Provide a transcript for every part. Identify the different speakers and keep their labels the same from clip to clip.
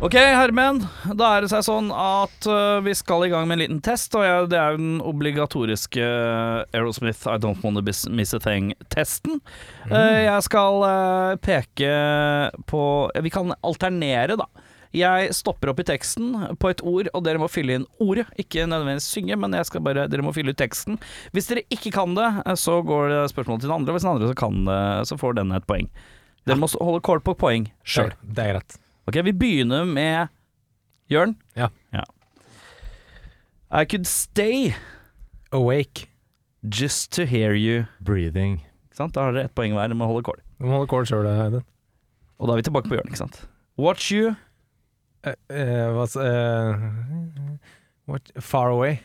Speaker 1: Ok, Hermen. Da er det seg sånn at øh, vi skal i gang med en liten test. Og jeg, det er jo den obligatoriske eh, Aerosmith I Don't Wanna bis- Miss A Thing-testen. Eh, jeg skal eh, peke på eh, Vi kan alternere, da. Jeg stopper opp i teksten på et ord, og dere må fylle inn ordet. Ikke nødvendigvis synge, men jeg skal bare, dere må fylle ut teksten. Hvis dere ikke kan det, eh, så går det spørsmålet til den andre. og Hvis den andre så kan det, så får den et poeng. Dere må s- holde kål på poeng sjøl.
Speaker 2: Det er greit.
Speaker 1: Ok, vi begynner med Jørn.
Speaker 2: Ja.
Speaker 1: I could stay
Speaker 2: Awake.
Speaker 1: just to hear you.
Speaker 2: Breathing.
Speaker 1: Ikke sant? Da har dere ett poeng hver med å holde kål.
Speaker 2: Du må holde kål sjøl, Aiden.
Speaker 1: Og da er vi tilbake på Jørn, ikke sant. Watch you
Speaker 2: Eh, eh, hva s- eh, what, far away.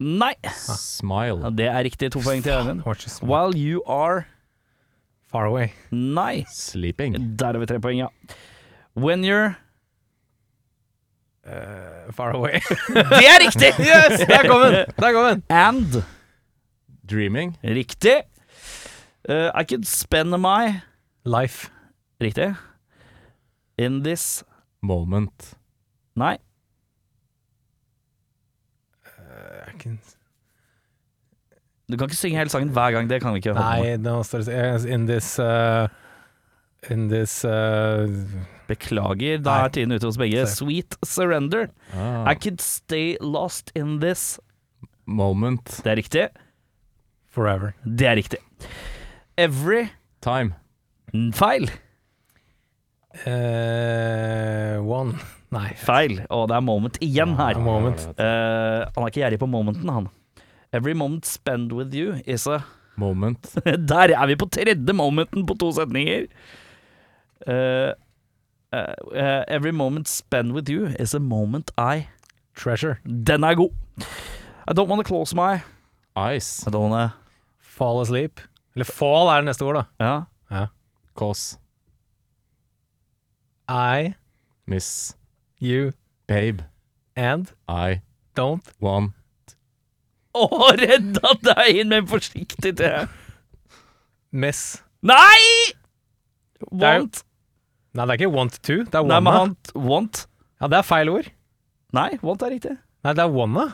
Speaker 1: Nei! Ja,
Speaker 3: Smile.
Speaker 1: det er riktig. To poeng til Jørn.
Speaker 2: Watch us-
Speaker 1: While you are
Speaker 2: Far away.
Speaker 1: Nei.
Speaker 3: Sleeping.
Speaker 1: Der har vi tre poeng, ja. When you're
Speaker 2: Eh, far away.
Speaker 1: Det er riktig!
Speaker 2: yes! Der kom den! Der kom den.
Speaker 1: And
Speaker 3: Dreaming.
Speaker 1: Riktig. Uh, I could spend my
Speaker 2: Life.
Speaker 1: Riktig. In this
Speaker 3: Moment.
Speaker 1: Nei.
Speaker 2: Eh, jeg kan-
Speaker 1: Du kan ikke synge hele sangen hver gang. Det kan vi ikke. holde på med.
Speaker 2: Nei, nå står det yes, In this eh, In this eh,
Speaker 1: Beklager, da
Speaker 2: Nei.
Speaker 1: er tiden ute hos begge.
Speaker 2: Sorry.
Speaker 1: Sweet surrender.
Speaker 3: Ah.
Speaker 1: I could stay lost in this.
Speaker 3: Moment.
Speaker 1: Det er riktig.
Speaker 2: Forever.
Speaker 1: Det er riktig. Every
Speaker 3: Time.
Speaker 1: N- Feil.
Speaker 2: Eh, one. Nei.
Speaker 1: Feil. Og det er moment igjen her.
Speaker 2: A moment.
Speaker 1: Eh, han er ikke gjerrig på momenten, han. Every moment spent with you is a
Speaker 3: Moment.
Speaker 1: Der er vi på tredje momenten på to setninger. Eh, eh, eh, every moment spent with you is a moment I
Speaker 2: Treasure.
Speaker 1: Den er god. I don't wanna close my
Speaker 3: Ice.
Speaker 1: I don't wanna
Speaker 2: Fall asleep. Eller fall er det neste ord, da.
Speaker 1: Ja.
Speaker 3: Cause.
Speaker 2: I,
Speaker 3: Miss.
Speaker 2: you
Speaker 3: Babe.
Speaker 2: and
Speaker 3: I.
Speaker 2: don't.
Speaker 3: One.
Speaker 1: Og redda deg inn med en forsiktig T.
Speaker 2: Miss.
Speaker 1: Nei!
Speaker 2: er jo-
Speaker 1: Want.
Speaker 2: Nei, det er ikke want to, det er
Speaker 1: Nei, men
Speaker 2: wanna.
Speaker 1: han Want.
Speaker 2: Ja, det er feil ord.
Speaker 1: Nei, want er riktig.
Speaker 2: Nei, det er wanna.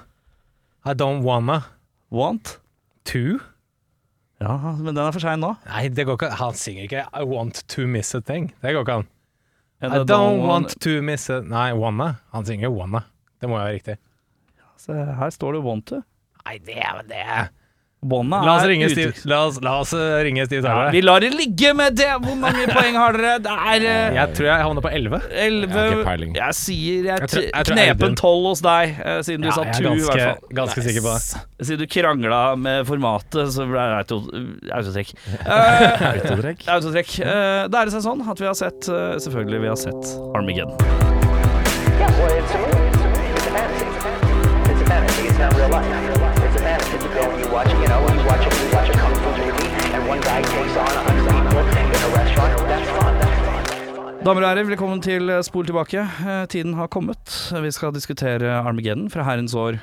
Speaker 2: I don't wanna
Speaker 1: Want.
Speaker 2: to.
Speaker 1: Ja, men den er for sein nå.
Speaker 2: Nei, det går ikke an. Han synger ikke I want to miss a thing. Det går ikke an.
Speaker 1: Ja,
Speaker 2: I
Speaker 1: det-
Speaker 2: don't want to miss a Nei, wanna. Han synger wanna. Det må jo være riktig.
Speaker 1: Se, her står det want to.
Speaker 2: Nei, det er vel det.
Speaker 1: Wanna
Speaker 2: La oss
Speaker 1: er
Speaker 2: ringe
Speaker 1: uttrykk-
Speaker 2: Steve, la oss, la oss eh, ringe Steve
Speaker 1: Ja,
Speaker 2: Tyler.
Speaker 1: vi lar det ligge med det. Hvor mange poeng har dere? Det er eh,
Speaker 2: Jeg tror jeg havner på 11.
Speaker 1: elleve
Speaker 3: Jeg har ikke peiling.
Speaker 1: Jeg sier jeg,
Speaker 2: Jeg tror- jeg tror
Speaker 1: knepen
Speaker 2: Audun-
Speaker 1: tolv hos deg, eh, siden du
Speaker 2: Ja,
Speaker 1: sa
Speaker 2: jeg
Speaker 1: tu,
Speaker 2: er
Speaker 1: i hvert fall.
Speaker 2: ganske, ganske sikker på det.
Speaker 1: Siden du krangla med formatet, så ble det auto- autotrekk. Eh,
Speaker 3: Autodrekk.
Speaker 1: Autotrekk. Eh, Da er det seg sånn at vi har sett eh, Selvfølgelig, vi har sett Armageddon.
Speaker 4: Yeah, well, it's a movie. It's a movie. It's a fantasy. It's a fantasy. It's not real life. It's a fantasy. It's a film. You watch, you know, you watch a, you watch a kung fu movie, and one guy takes on a hundred people in a restaurant. That's fun. That's fun. That's fun.
Speaker 1: Damer og herrer, velkommen til eh, Spol tilbake. Eh, Tiden har kommet. Vi skal diskutere Armageddon fra herrens år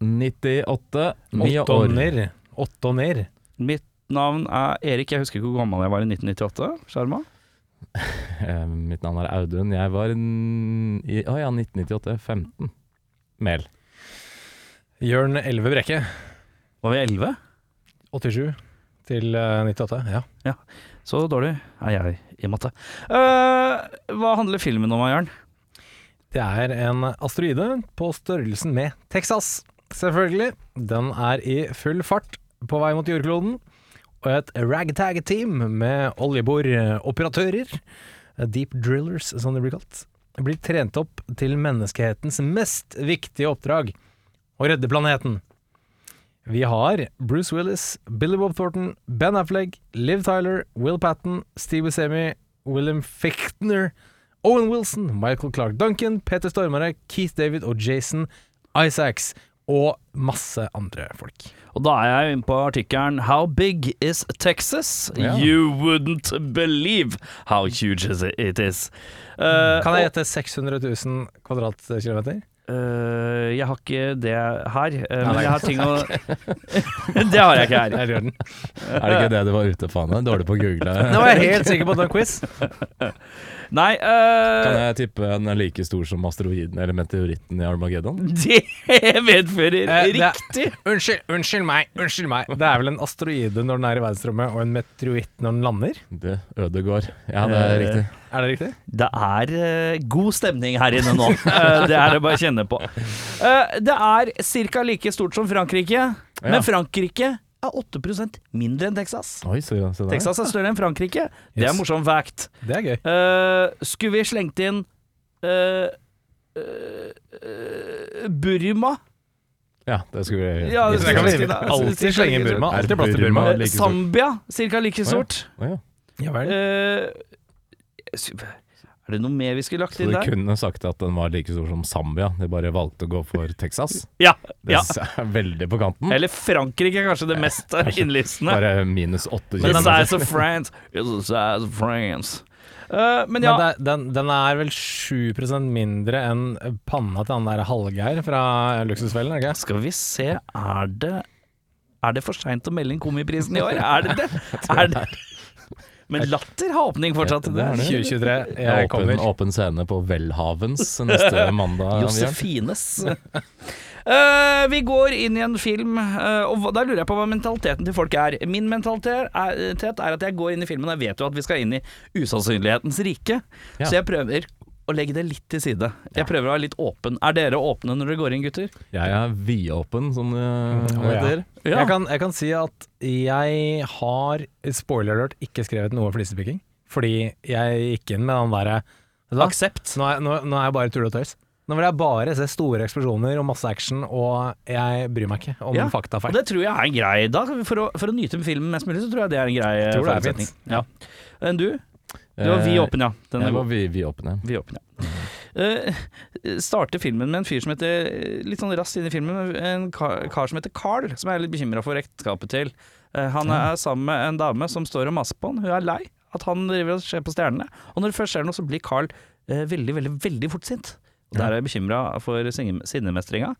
Speaker 3: 1998. Ni år.
Speaker 2: Åttoner. Åttoner.
Speaker 1: Mitt navn er Erik. Jeg husker ikke hvor gammel jeg var i 1998. Sjarma?
Speaker 3: Eh, Mitt navn er Audun. Jeg var n- i Å ja, 1998. 15. Mel.
Speaker 2: Jørn Elleve Brekke.
Speaker 1: Var vi 11?
Speaker 2: 87 til eh, 98. Ja.
Speaker 1: Så dårlig er jeg i matte. Eh, hva handler filmen om, Jørn?
Speaker 2: Det er en asteroide på størrelsen med Texas, selvfølgelig. Den er i full fart på vei mot jordkloden. Og et ragtag-team med oljeboroperatører, deep drillers som det blir kalt, blir trent opp til menneskehetens mest viktige oppdrag, å redde planeten. Vi har Bruce Willis, Billy Bob Thornton, Ben Affleck, Liv Tyler, Will Patten, Steve Buscemi, William Fichtner, Owen Wilson, Michael Clark Duncan, Peter Stormare, Keith David og Jason Isaacs. og masse andre folk.
Speaker 1: Og da er jeg inne på artikkelen How big is Texas?
Speaker 3: Ja.
Speaker 1: You wouldn't believe how huge is it- it is. Eh,
Speaker 2: Kan jeg gjette 600 000 kvadratkilometer?
Speaker 1: Eh, jeg har ikke det her, eh, men
Speaker 2: nei.
Speaker 1: jeg har ting å Det har jeg ikke her.
Speaker 2: Jeg gjør den.
Speaker 3: Er det ikke det du var ute faen? Jeg er Dårlig på å google.
Speaker 2: Nå var jeg helt sikker på at det var en quiz.
Speaker 1: Nei
Speaker 3: Kan
Speaker 1: eh,
Speaker 3: jeg tippe den er like stor som asteroiden eller meteoritten i Armageddon?
Speaker 1: Det medfører
Speaker 2: Eh, det er-
Speaker 1: riktig.
Speaker 2: Unnskyld, unnskyld meg, unnskyld meg. Det er vel en asteroide når den er i verdensrommet, og en meteoritt når den lander?
Speaker 3: Det Ødegård. Ja, det er
Speaker 1: Eh,
Speaker 3: riktig.
Speaker 2: Er det riktig?
Speaker 1: Det er eh, god stemning her inne nå. Eh, det er det bare å kjenne på. Eh, det er ca. like stort som Frankrike, men Frankrike er 8 mindre enn Texas.
Speaker 3: Oi, så, så der.
Speaker 1: Texas er større enn Frankrike. Det er
Speaker 2: Yes.
Speaker 1: morsom fact.
Speaker 2: Det er gøy.
Speaker 1: Eh, skulle vi slengt inn eh, eh, eh, Burma?
Speaker 3: Ja, det skulle jeg
Speaker 1: Ja, det
Speaker 2: Så jeg kan
Speaker 1: vi-
Speaker 2: alltid slenge Burma. Alltid plass til Burma.
Speaker 3: Ja,
Speaker 1: Eh,
Speaker 3: like stort.
Speaker 1: Zambia, ca. like stort.
Speaker 3: Å ja.
Speaker 2: Ja vel.
Speaker 1: Eh, er det noe mer vi skulle lagt
Speaker 3: Så
Speaker 1: inn
Speaker 3: du
Speaker 1: der?
Speaker 3: kunne sagt at den var like stor som Zambia, de bare valgte å gå for Texas?
Speaker 1: Ja,
Speaker 3: Det
Speaker 1: ja.
Speaker 3: synes jeg er veldig på kanten.
Speaker 1: Eller Frankrike er kanskje det mest innlysende.
Speaker 3: Bare minus åtte
Speaker 1: It's the
Speaker 3: kilometer.
Speaker 1: size of France. It's the size of France. Eh, men
Speaker 2: Men
Speaker 1: ja,
Speaker 2: det, er- den, den er vel 7 mindre enn panna til han der Hallgeir fra Luksusfellen, er det ikke?
Speaker 1: skal vi se Er det Er det for seint å melde inn Komiprisen i år? Er det det? Er det? Men Latter har åpning fortsatt.
Speaker 3: Ja, det er det.
Speaker 2: 2023,
Speaker 3: Det er
Speaker 2: jeg
Speaker 3: Åpen,
Speaker 2: kommer.
Speaker 3: åpen scene på Welhavens neste mandag. Bjørn.
Speaker 1: Josefines. Eh, vi går inn i en film, eh, og hva- da lurer jeg på hva mentaliteten til folk er. Min mentalitet er, tet er at jeg går inn i filmen, og jeg vet jo at vi skal inn i usannsynlighetens rike,
Speaker 3: Ja.
Speaker 1: så jeg prøver å legge det litt til side. Jeg prøver å være litt åpen. Er dere åpne når dere går inn, gutter?
Speaker 3: Jeg er vidåpen, som det
Speaker 1: Mm,
Speaker 2: Å, ja.
Speaker 3: heter.
Speaker 2: Jeg, kan, jeg kan si at jeg har, spoiler alert, ikke skrevet noe flisepikking. Fordi jeg gikk inn med den derre Vet du hva?
Speaker 1: Aksept.
Speaker 2: Nå er, nå, nå er jeg bare tull og tøys. Nå vil jeg bare se store eksplosjoner og masse action, og jeg bryr meg ikke om
Speaker 1: Ja, Og
Speaker 2: faktafeil.
Speaker 1: det tror jeg er en grei da. For å, for å nyte filmen mest mulig, så tror jeg det er en grei eh,
Speaker 2: tror det er
Speaker 1: forutsetning.
Speaker 2: fint. Eh,
Speaker 1: Ja. Enn du? Du var vi åpen, ja. Den er
Speaker 3: Eh,
Speaker 1: god.
Speaker 3: Jeg var vi- vidåpen, ja.
Speaker 1: Vi åpner. Eh, starter filmen med en fyr som heter Litt sånn raskt inn i filmen, en kar, kar som heter Carl, som jeg er litt bekymra for ekteskapet til. Eh, han er sammen med en dame som står og maser på han. Hun er lei at han driver og ser på stjernene. Og når det først skjer noe, så blir Carl eh, veldig, veldig veldig fort sint. Og Der er jeg bekymra for sinne- sinnemestringa.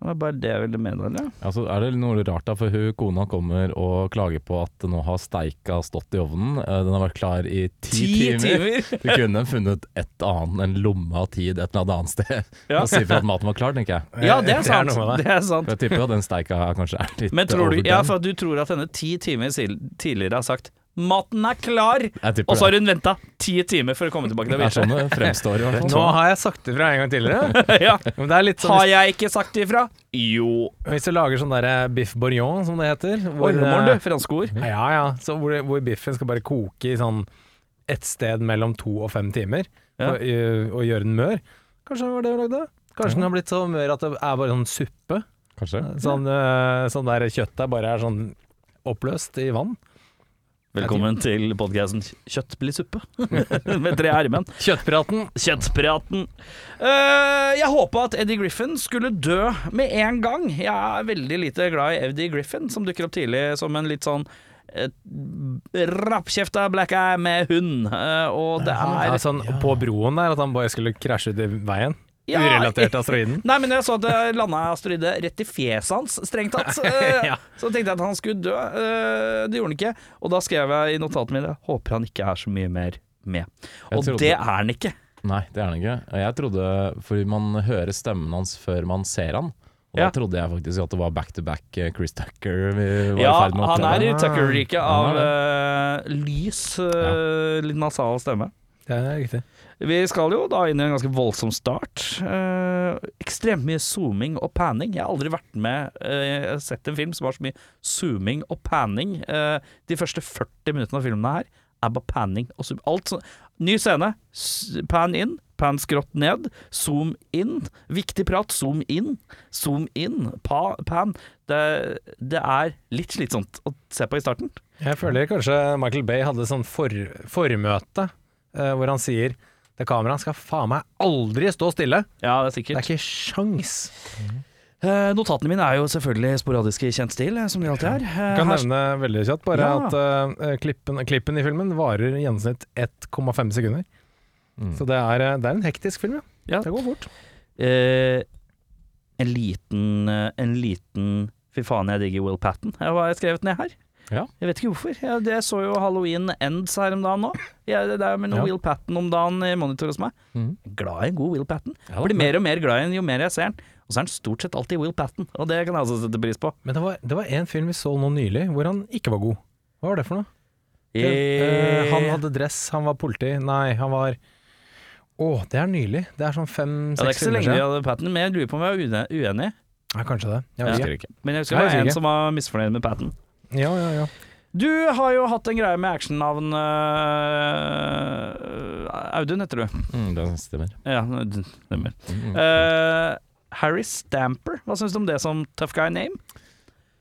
Speaker 1: Det var bare det jeg ville mene. Eller?
Speaker 3: Altså, er det noe rart da, for hun, kona kommer og klager på at nå har steika stått i ovnen. Eh, Den har vært klar i ti, timer. Du kunne funnet et annet, en lomme av tid et eller annet sted.
Speaker 1: Ja.
Speaker 3: Og si for at maten var klar, tenker jeg.
Speaker 1: Ja, det er sant.
Speaker 2: noe med det.
Speaker 1: Det er sant.
Speaker 3: For jeg tipper jo at den steika her kanskje er litt
Speaker 1: Men tror du,
Speaker 3: overdone.
Speaker 1: ja, for at du tror at henne ti timer sil- tidligere har sagt 'maten er klar',
Speaker 3: tipper
Speaker 1: og så har
Speaker 3: det.
Speaker 1: hun venta ti timer for å komme tilbake til
Speaker 3: Det er
Speaker 1: Vinsja.
Speaker 3: sånn det fremstår i hvert
Speaker 2: Nå
Speaker 3: fall.
Speaker 2: har jeg sagt det fra en gang tidligere.
Speaker 1: ja.
Speaker 2: Men det er litt sånn
Speaker 1: Har jeg ikke sagt det ifra? Jo.
Speaker 2: Hvis du lager sånn der biff bourgnon, som det heter hvor,
Speaker 1: Ormorn, du.
Speaker 2: eh,
Speaker 1: Franske ord.
Speaker 2: Ja, ja. Så hvor, hvor biffen skal bare koke i sånn et sted mellom to og fem timer,
Speaker 1: Ja.
Speaker 2: og, eh, og gjøre den mør. Kanskje det var det hun lagde? Kanskje den har blitt så mør at det er bare sånn suppe?
Speaker 3: Kanskje.
Speaker 2: Sånn, eh, sånn der kjøttet bare er sånn oppløst i vann?
Speaker 1: Velkommen til podkasten 'Kjøtt blir suppe' med tre r-menn.
Speaker 2: Kjøttpraten!
Speaker 1: Kjøttpraten. Eh, jeg håpa at Eddie Griffin skulle dø med en gang. Jeg er veldig lite glad i Eddie Griffin, som dukker opp tidlig som en litt sånn eh, Rappkjefta black eye med hund, Eh, og det
Speaker 2: Ja,
Speaker 1: er
Speaker 2: sånn på broen der, at han bare skulle krasje ut i veien.
Speaker 1: Ja,
Speaker 2: Urelatert til asteroiden.
Speaker 1: Nei, men jeg så at det landa en asteroide rett i fjeset hans, strengt tatt. Eh,
Speaker 2: Ja.
Speaker 1: Så tenkte jeg at han skulle dø. Eh, Det gjorde han ikke. Og da skrev jeg i notatene mine håper han ikke er så mye mer med.
Speaker 3: Jeg
Speaker 1: Og
Speaker 3: trodde-
Speaker 1: det er han ikke.
Speaker 3: Nei, det er den ikke. Og Jeg trodde, fordi man hører stemmen hans før man ser han. Og
Speaker 1: Ja.
Speaker 3: da trodde jeg faktisk at det var back-to-back eh, Chris Tucker vi var
Speaker 1: Ja,
Speaker 3: i ferd med å
Speaker 1: han er
Speaker 3: oppleve.
Speaker 1: i
Speaker 2: Ah.
Speaker 1: Tucker-riket
Speaker 3: Han
Speaker 1: av eh, lys, eh, litt nasal stemme.
Speaker 2: Det er riktig.
Speaker 1: Vi skal jo da inn i en ganske voldsom start. Eh, ekstremt mye zooming og panning. Jeg har aldri vært med eh, sett en film som har så mye zooming og panning. Eh, de første 40 minuttene av filmen her er bare panning og zoom. Alt sånn. Ny scene. s- Pan inn. Pan skrått ned. Zoom inn. Viktig prat. Zoom inn. Zoom inn. Pa, pan. Det, det er litt slitsomt å se på i starten.
Speaker 2: Jeg føler kanskje Michael Bay hadde sånn for, formøte, eh, hvor han sier til kameraet skal faen meg aldri stå stille.
Speaker 1: Ja, det er
Speaker 2: Det
Speaker 1: sikkert.
Speaker 2: er ikke sjans.
Speaker 1: Eh, notatene mine er jo selvfølgelig sporadiske i kjent stil, eh, som de alltid er. Eh,
Speaker 2: Kan
Speaker 1: her-
Speaker 2: nevne veldig kjapt bare
Speaker 1: Ja.
Speaker 2: at eh, klippen, klippen i filmen varer i gjennomsnitt 1,5 sekunder.
Speaker 3: Mm.
Speaker 2: Så det er, eh, det er en hektisk film, ja.
Speaker 1: Ja.
Speaker 2: Det går fort.
Speaker 1: Eh, en liten eh, En liten Fy faen, jeg digger Will Patten. Jeg har skrevet ned her.
Speaker 3: Ja.
Speaker 1: Jeg vet ikke hvorfor. Jeg, jeg så jo Halloween Ends her om dagen nå. Jeg, det er med
Speaker 3: Ja.
Speaker 1: Will Patten om dagen i monitor hos meg.
Speaker 2: Mm.
Speaker 3: Mhm.
Speaker 1: Glad i en god Will Patten.
Speaker 3: Ja,
Speaker 1: Blir mer og mer glad i den jo mer jeg ser den. Og så er den stort sett alltid Will Patten, og det kan jeg altså sette pris på.
Speaker 2: Men det var, det var en film vi så nå nylig hvor han ikke var god. Hva var det for noe? Det, eh, han
Speaker 1: Eh,
Speaker 2: hadde dress, han var politi. Nei, han var Å, det er nylig. Det er sånn
Speaker 1: ja, det er
Speaker 2: fem-seks
Speaker 1: ikke så
Speaker 2: filmer
Speaker 1: lenge de
Speaker 2: siden.
Speaker 1: hadde Patten, men jeg lurer på om jeg var uene- uenig.
Speaker 2: Ja, kanskje det.
Speaker 1: Ja.
Speaker 2: Jeg vet
Speaker 3: Husker ikke.
Speaker 1: Men jeg husker det
Speaker 2: Nei,
Speaker 1: var
Speaker 2: jeg
Speaker 1: en
Speaker 2: husker
Speaker 1: som var misfornøyd med Patten.
Speaker 2: ikke. Ja, ja, ja.
Speaker 1: Du har jo hatt en greie med actionnavn øh, Audun heter du.
Speaker 3: Mm, det stemmer.
Speaker 1: Ja, det stemmer.
Speaker 3: Mm.
Speaker 1: Eh, Harry Stamper, hva syns du om det som tough guy name?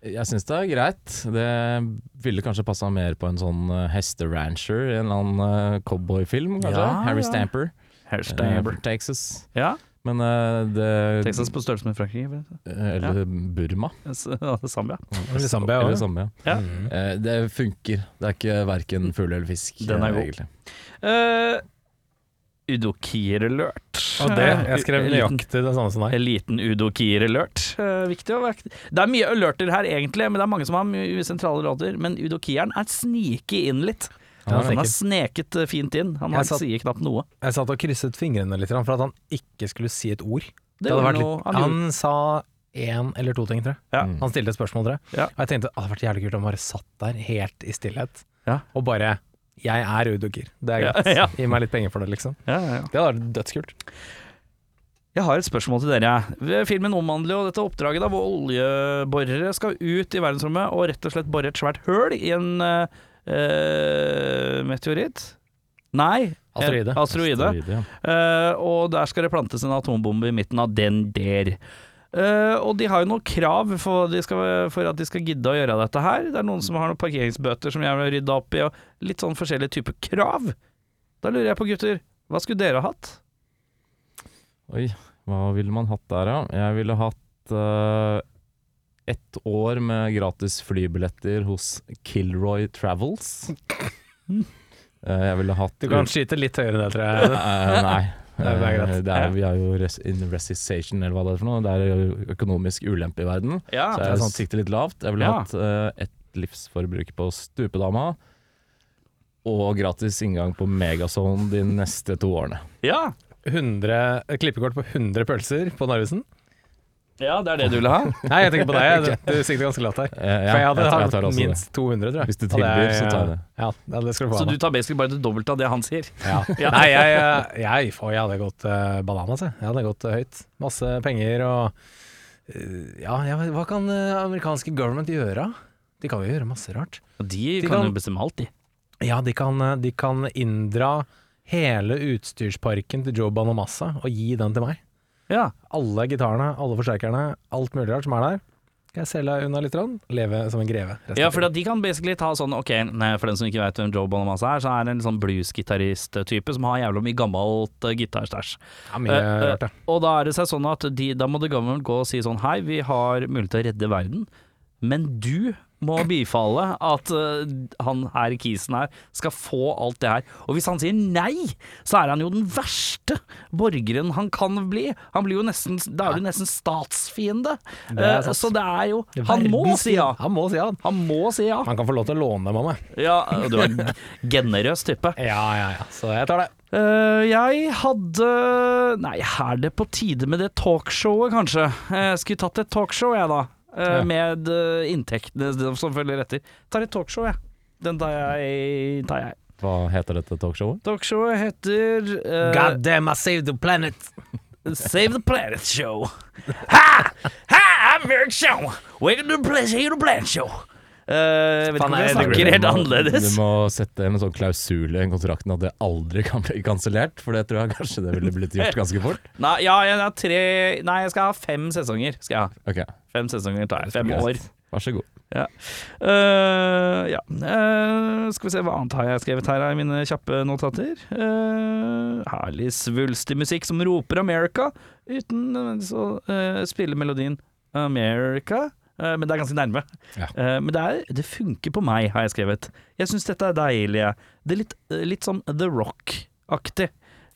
Speaker 3: Jeg syns det er greit. Det ville kanskje passa mer på en sånn eh, hesterancher i en eller annen eh, cowboyfilm, kanskje.
Speaker 1: Ja,
Speaker 3: Harry
Speaker 1: ja.
Speaker 3: Stamper.
Speaker 1: Harry
Speaker 3: eh, fra Texas.
Speaker 1: Ja,
Speaker 3: Men eh, det
Speaker 1: Texas på størrelse med Frankrike. vel?
Speaker 3: Eh, Eller Burma.
Speaker 1: Så- ja, det er Zambia.
Speaker 2: Eller Zambia
Speaker 3: Eller
Speaker 2: også.
Speaker 3: Zambia.
Speaker 1: Ja.
Speaker 2: Mm.
Speaker 3: Eh, Det funker. Det er ikke verken fugl eller fisk.
Speaker 1: Den er
Speaker 3: eh,
Speaker 1: god.
Speaker 3: egentlig.
Speaker 1: Uh, Udokir-alert.
Speaker 2: Og det, jeg skrev nøyaktig det samme som deg.
Speaker 1: En liten udokir-alert. Eh, viktig å være Det er mye alerter her, egentlig, men det er mange som har mye sentrale råder. Men udokieren er sniket inn litt.
Speaker 2: Ja,
Speaker 1: Han har
Speaker 2: sikkert.
Speaker 1: sneket eh, fint inn. Han har,
Speaker 2: Jeg satt-
Speaker 1: sier knapt noe.
Speaker 2: Jeg satt og krysset fingrene litt for at han ikke skulle si et ord.
Speaker 1: Det
Speaker 2: Det hadde
Speaker 1: gjorde
Speaker 2: vært
Speaker 1: noe-
Speaker 2: litt,
Speaker 1: han
Speaker 2: han
Speaker 1: gjorde-
Speaker 2: sa én eller to ting, tror jeg.
Speaker 1: Ja.
Speaker 2: Han stilte et spørsmål, tror jeg.
Speaker 1: Ja.
Speaker 2: Og jeg tenkte «Å, det hadde vært jævlig kult om han bare satt der helt i stillhet
Speaker 1: Ja.
Speaker 2: og bare Jeg er Udokir, det er
Speaker 1: Ja,
Speaker 2: greit.
Speaker 1: ja.
Speaker 2: Gi meg litt penger for det, liksom.
Speaker 1: Ja, ja, ja.
Speaker 2: Det hadde vært dødskult.
Speaker 1: Jeg har et spørsmål til dere. Filmen omhandler jo dette oppdraget da, hvor oljeborere skal ut i verdensrommet og rett og slett bore et svært høl i en eh, eh, meteoritt. Nei, en
Speaker 2: Asteroide.
Speaker 1: asteroide.
Speaker 3: Asteroide, ja.
Speaker 1: Eh, og der skal det plantes en atombombe i midten av den der. Eh, og de har jo noen krav for, de skal, for at de skal gidde å gjøre dette her. Det er noen som har noen parkeringsbøter som jeg vil rydde opp i, og litt sånn forskjellige typer krav. Da lurer jeg på, gutter, hva skulle dere ha hatt?
Speaker 3: Oi, hva ville man hatt der, da? Jeg ville hatt eh, ett år med gratis flybilletter hos Kilroy Travels. Eh, jeg ville hatt
Speaker 2: Du kan skyte litt høyere enn det, tror jeg.
Speaker 3: Eh, nei.
Speaker 2: Det er greit.
Speaker 3: Eh, det er, vi er jo res in resistation, eller hva det er for noe. Det er jo økonomisk ulempe i verden.
Speaker 1: Ja,
Speaker 2: Ah,
Speaker 3: Så
Speaker 2: det er
Speaker 3: jeg
Speaker 2: sant.
Speaker 3: sikter litt lavt. Jeg ville
Speaker 1: Ja.
Speaker 3: hatt eh, ett livsforbruk på stupedama. Og gratis inngang på Megazone de neste to årene.
Speaker 2: 100, et klippekort på 100 pølser på Narvesen.
Speaker 1: det er det du vil ha?
Speaker 2: Nei, jeg tenker på deg. Du, du sikter ganske lavt her.
Speaker 3: Eh, ja,
Speaker 2: For jeg hadde
Speaker 3: tar-
Speaker 2: hatt
Speaker 3: tar også det.
Speaker 2: minst 200, tror jeg.
Speaker 3: Hvis du
Speaker 2: Hadde jeg-
Speaker 3: tilbyr, så tar jeg det.
Speaker 2: Ja, ja, det skal du få
Speaker 1: Så
Speaker 2: ha.
Speaker 1: du
Speaker 2: da.
Speaker 1: tar basically bare det dobbelte av det han sier?
Speaker 2: Ja. Nei, jeg, jeg, for jeg hadde gått eh, bananas, jeg. Jeg hadde gått eh, høyt. Masse penger og eh, Ja, ja hva kan eh, amerikanske government gjøre? De kan jo gjøre masse rart.
Speaker 1: Og de
Speaker 2: De
Speaker 1: kan
Speaker 2: kan-
Speaker 1: jo bestemme alt, de.
Speaker 2: Ja, de kan, eh, de kan inndra hele utstyrsparken til Joe Banamassa og gi den til meg.
Speaker 1: Ja.
Speaker 2: Alle gitarene, alle forsterkerne, alt mulig rart som er der. Skal jeg selge unna litt, grann, leve som en greve. resten
Speaker 1: Ja,
Speaker 2: av
Speaker 1: for at de kan basically ta sånn Ok, nei, for den som ikke vet hvem Joe Bonamassa er, så er det en sånn bluesgitarist-type som har jævla mye gammelt uh, gitarstæsj.
Speaker 2: livet. ja, mye
Speaker 1: Eh, eh,
Speaker 2: rart, ja.
Speaker 1: Og da er det seg sånn at de, da må The Government gå og si sånn Hei, vi har mulighet til å redde verden, men du må bifalle at eh, han her kisen her skal få alt det her. Og hvis han sier nei, så er han jo den verste borgeren han kan bli. Han blir jo nesten Da er du nesten statsfiende.
Speaker 2: Det er
Speaker 1: Eh,
Speaker 2: sant.
Speaker 1: så det er jo Han må
Speaker 2: Verdens-
Speaker 1: si ja.
Speaker 2: Han må si ja.
Speaker 1: Han må si ja.
Speaker 2: Han kan få lov til å låne mamma.
Speaker 1: Ja, og du er en generøs type.
Speaker 2: Ja, ja, ja. Så jeg tar det.
Speaker 1: Eh, jeg hadde Nei, er det på tide med det talkshowet, kanskje? Eh, skulle tatt et talkshow, jeg, da. Eh,
Speaker 2: Ja.
Speaker 1: Med eh, inntektene som følger etter. Tar et talkshow, jeg. Den tar jeg. Tar jeg.
Speaker 3: Hva heter dette talkshowet?
Speaker 1: Talkshowet heter eh,
Speaker 2: God damn, I saved the planet!
Speaker 1: Save the Planet Show. Ha! Ha! I'm Eric Show. Welcome to the Planet- Save the Planet Show. Eh, jeg vet ikke om
Speaker 2: Faen,
Speaker 1: jeg
Speaker 2: er det
Speaker 1: snakker helt
Speaker 3: Du må-
Speaker 1: annerledes.
Speaker 3: Du må sette en sånn klausul i kontrakten at det aldri kan bli kansellert, for det tror jeg kanskje det ville blitt gjort ganske fort.
Speaker 1: Nei, ja, jeg har tre Nei, jeg skal ha fem sesonger. Skal jeg ha.
Speaker 3: Ok,
Speaker 1: Fem sesonger tar jeg. Fem
Speaker 3: greit.
Speaker 1: år.
Speaker 3: Vær så god.
Speaker 1: Eh, ja. Eh, skal vi se, hva annet har jeg skrevet her i mine kjappe notater? Eh, herlig svulstig musikk som roper 'America', uten nødvendigvis å eh, spille melodien America. Eh, Men det er ganske nærme.
Speaker 3: Ja.
Speaker 1: Eh, Men det, er, det funker på meg, har jeg skrevet. Jeg syns dette er deilig. jeg. Det er litt, eh, litt sånn The Rock-aktig.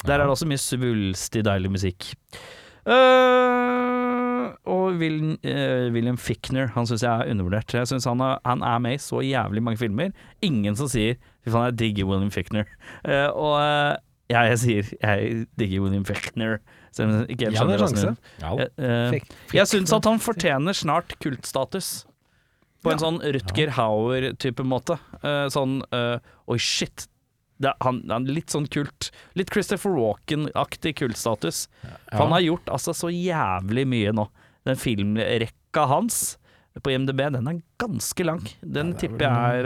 Speaker 1: Der er det også mye svulstig, deilig musikk. Eh, og William, eh, William Fickner, han syns jeg er undervurdert. Jeg synes han, er, han er med i så jævlig mange filmer. Ingen som sier 'fy faen, jeg digger William Fickner'. Eh, og eh, jeg, jeg sier 'jeg digger William Fickner', selv om jeg ikke helt
Speaker 2: Gi han
Speaker 1: skjønner
Speaker 2: en
Speaker 1: hva som
Speaker 2: sjanse.
Speaker 1: gjør.
Speaker 3: Ja.
Speaker 1: Eh, eh,
Speaker 2: Fikk-
Speaker 1: jeg syns at han fortjener snart kultstatus. På en sånn Rutger Hauer-type måte. Eh, sånn eh, Oi, shit. Det er, han, han er litt sånn kult. Litt Christopher Walken-aktig kultstatus. For han har gjort altså så jævlig mye nå. Den filmrekka hans på IMDb, den er ganske lang. Den tipper jeg er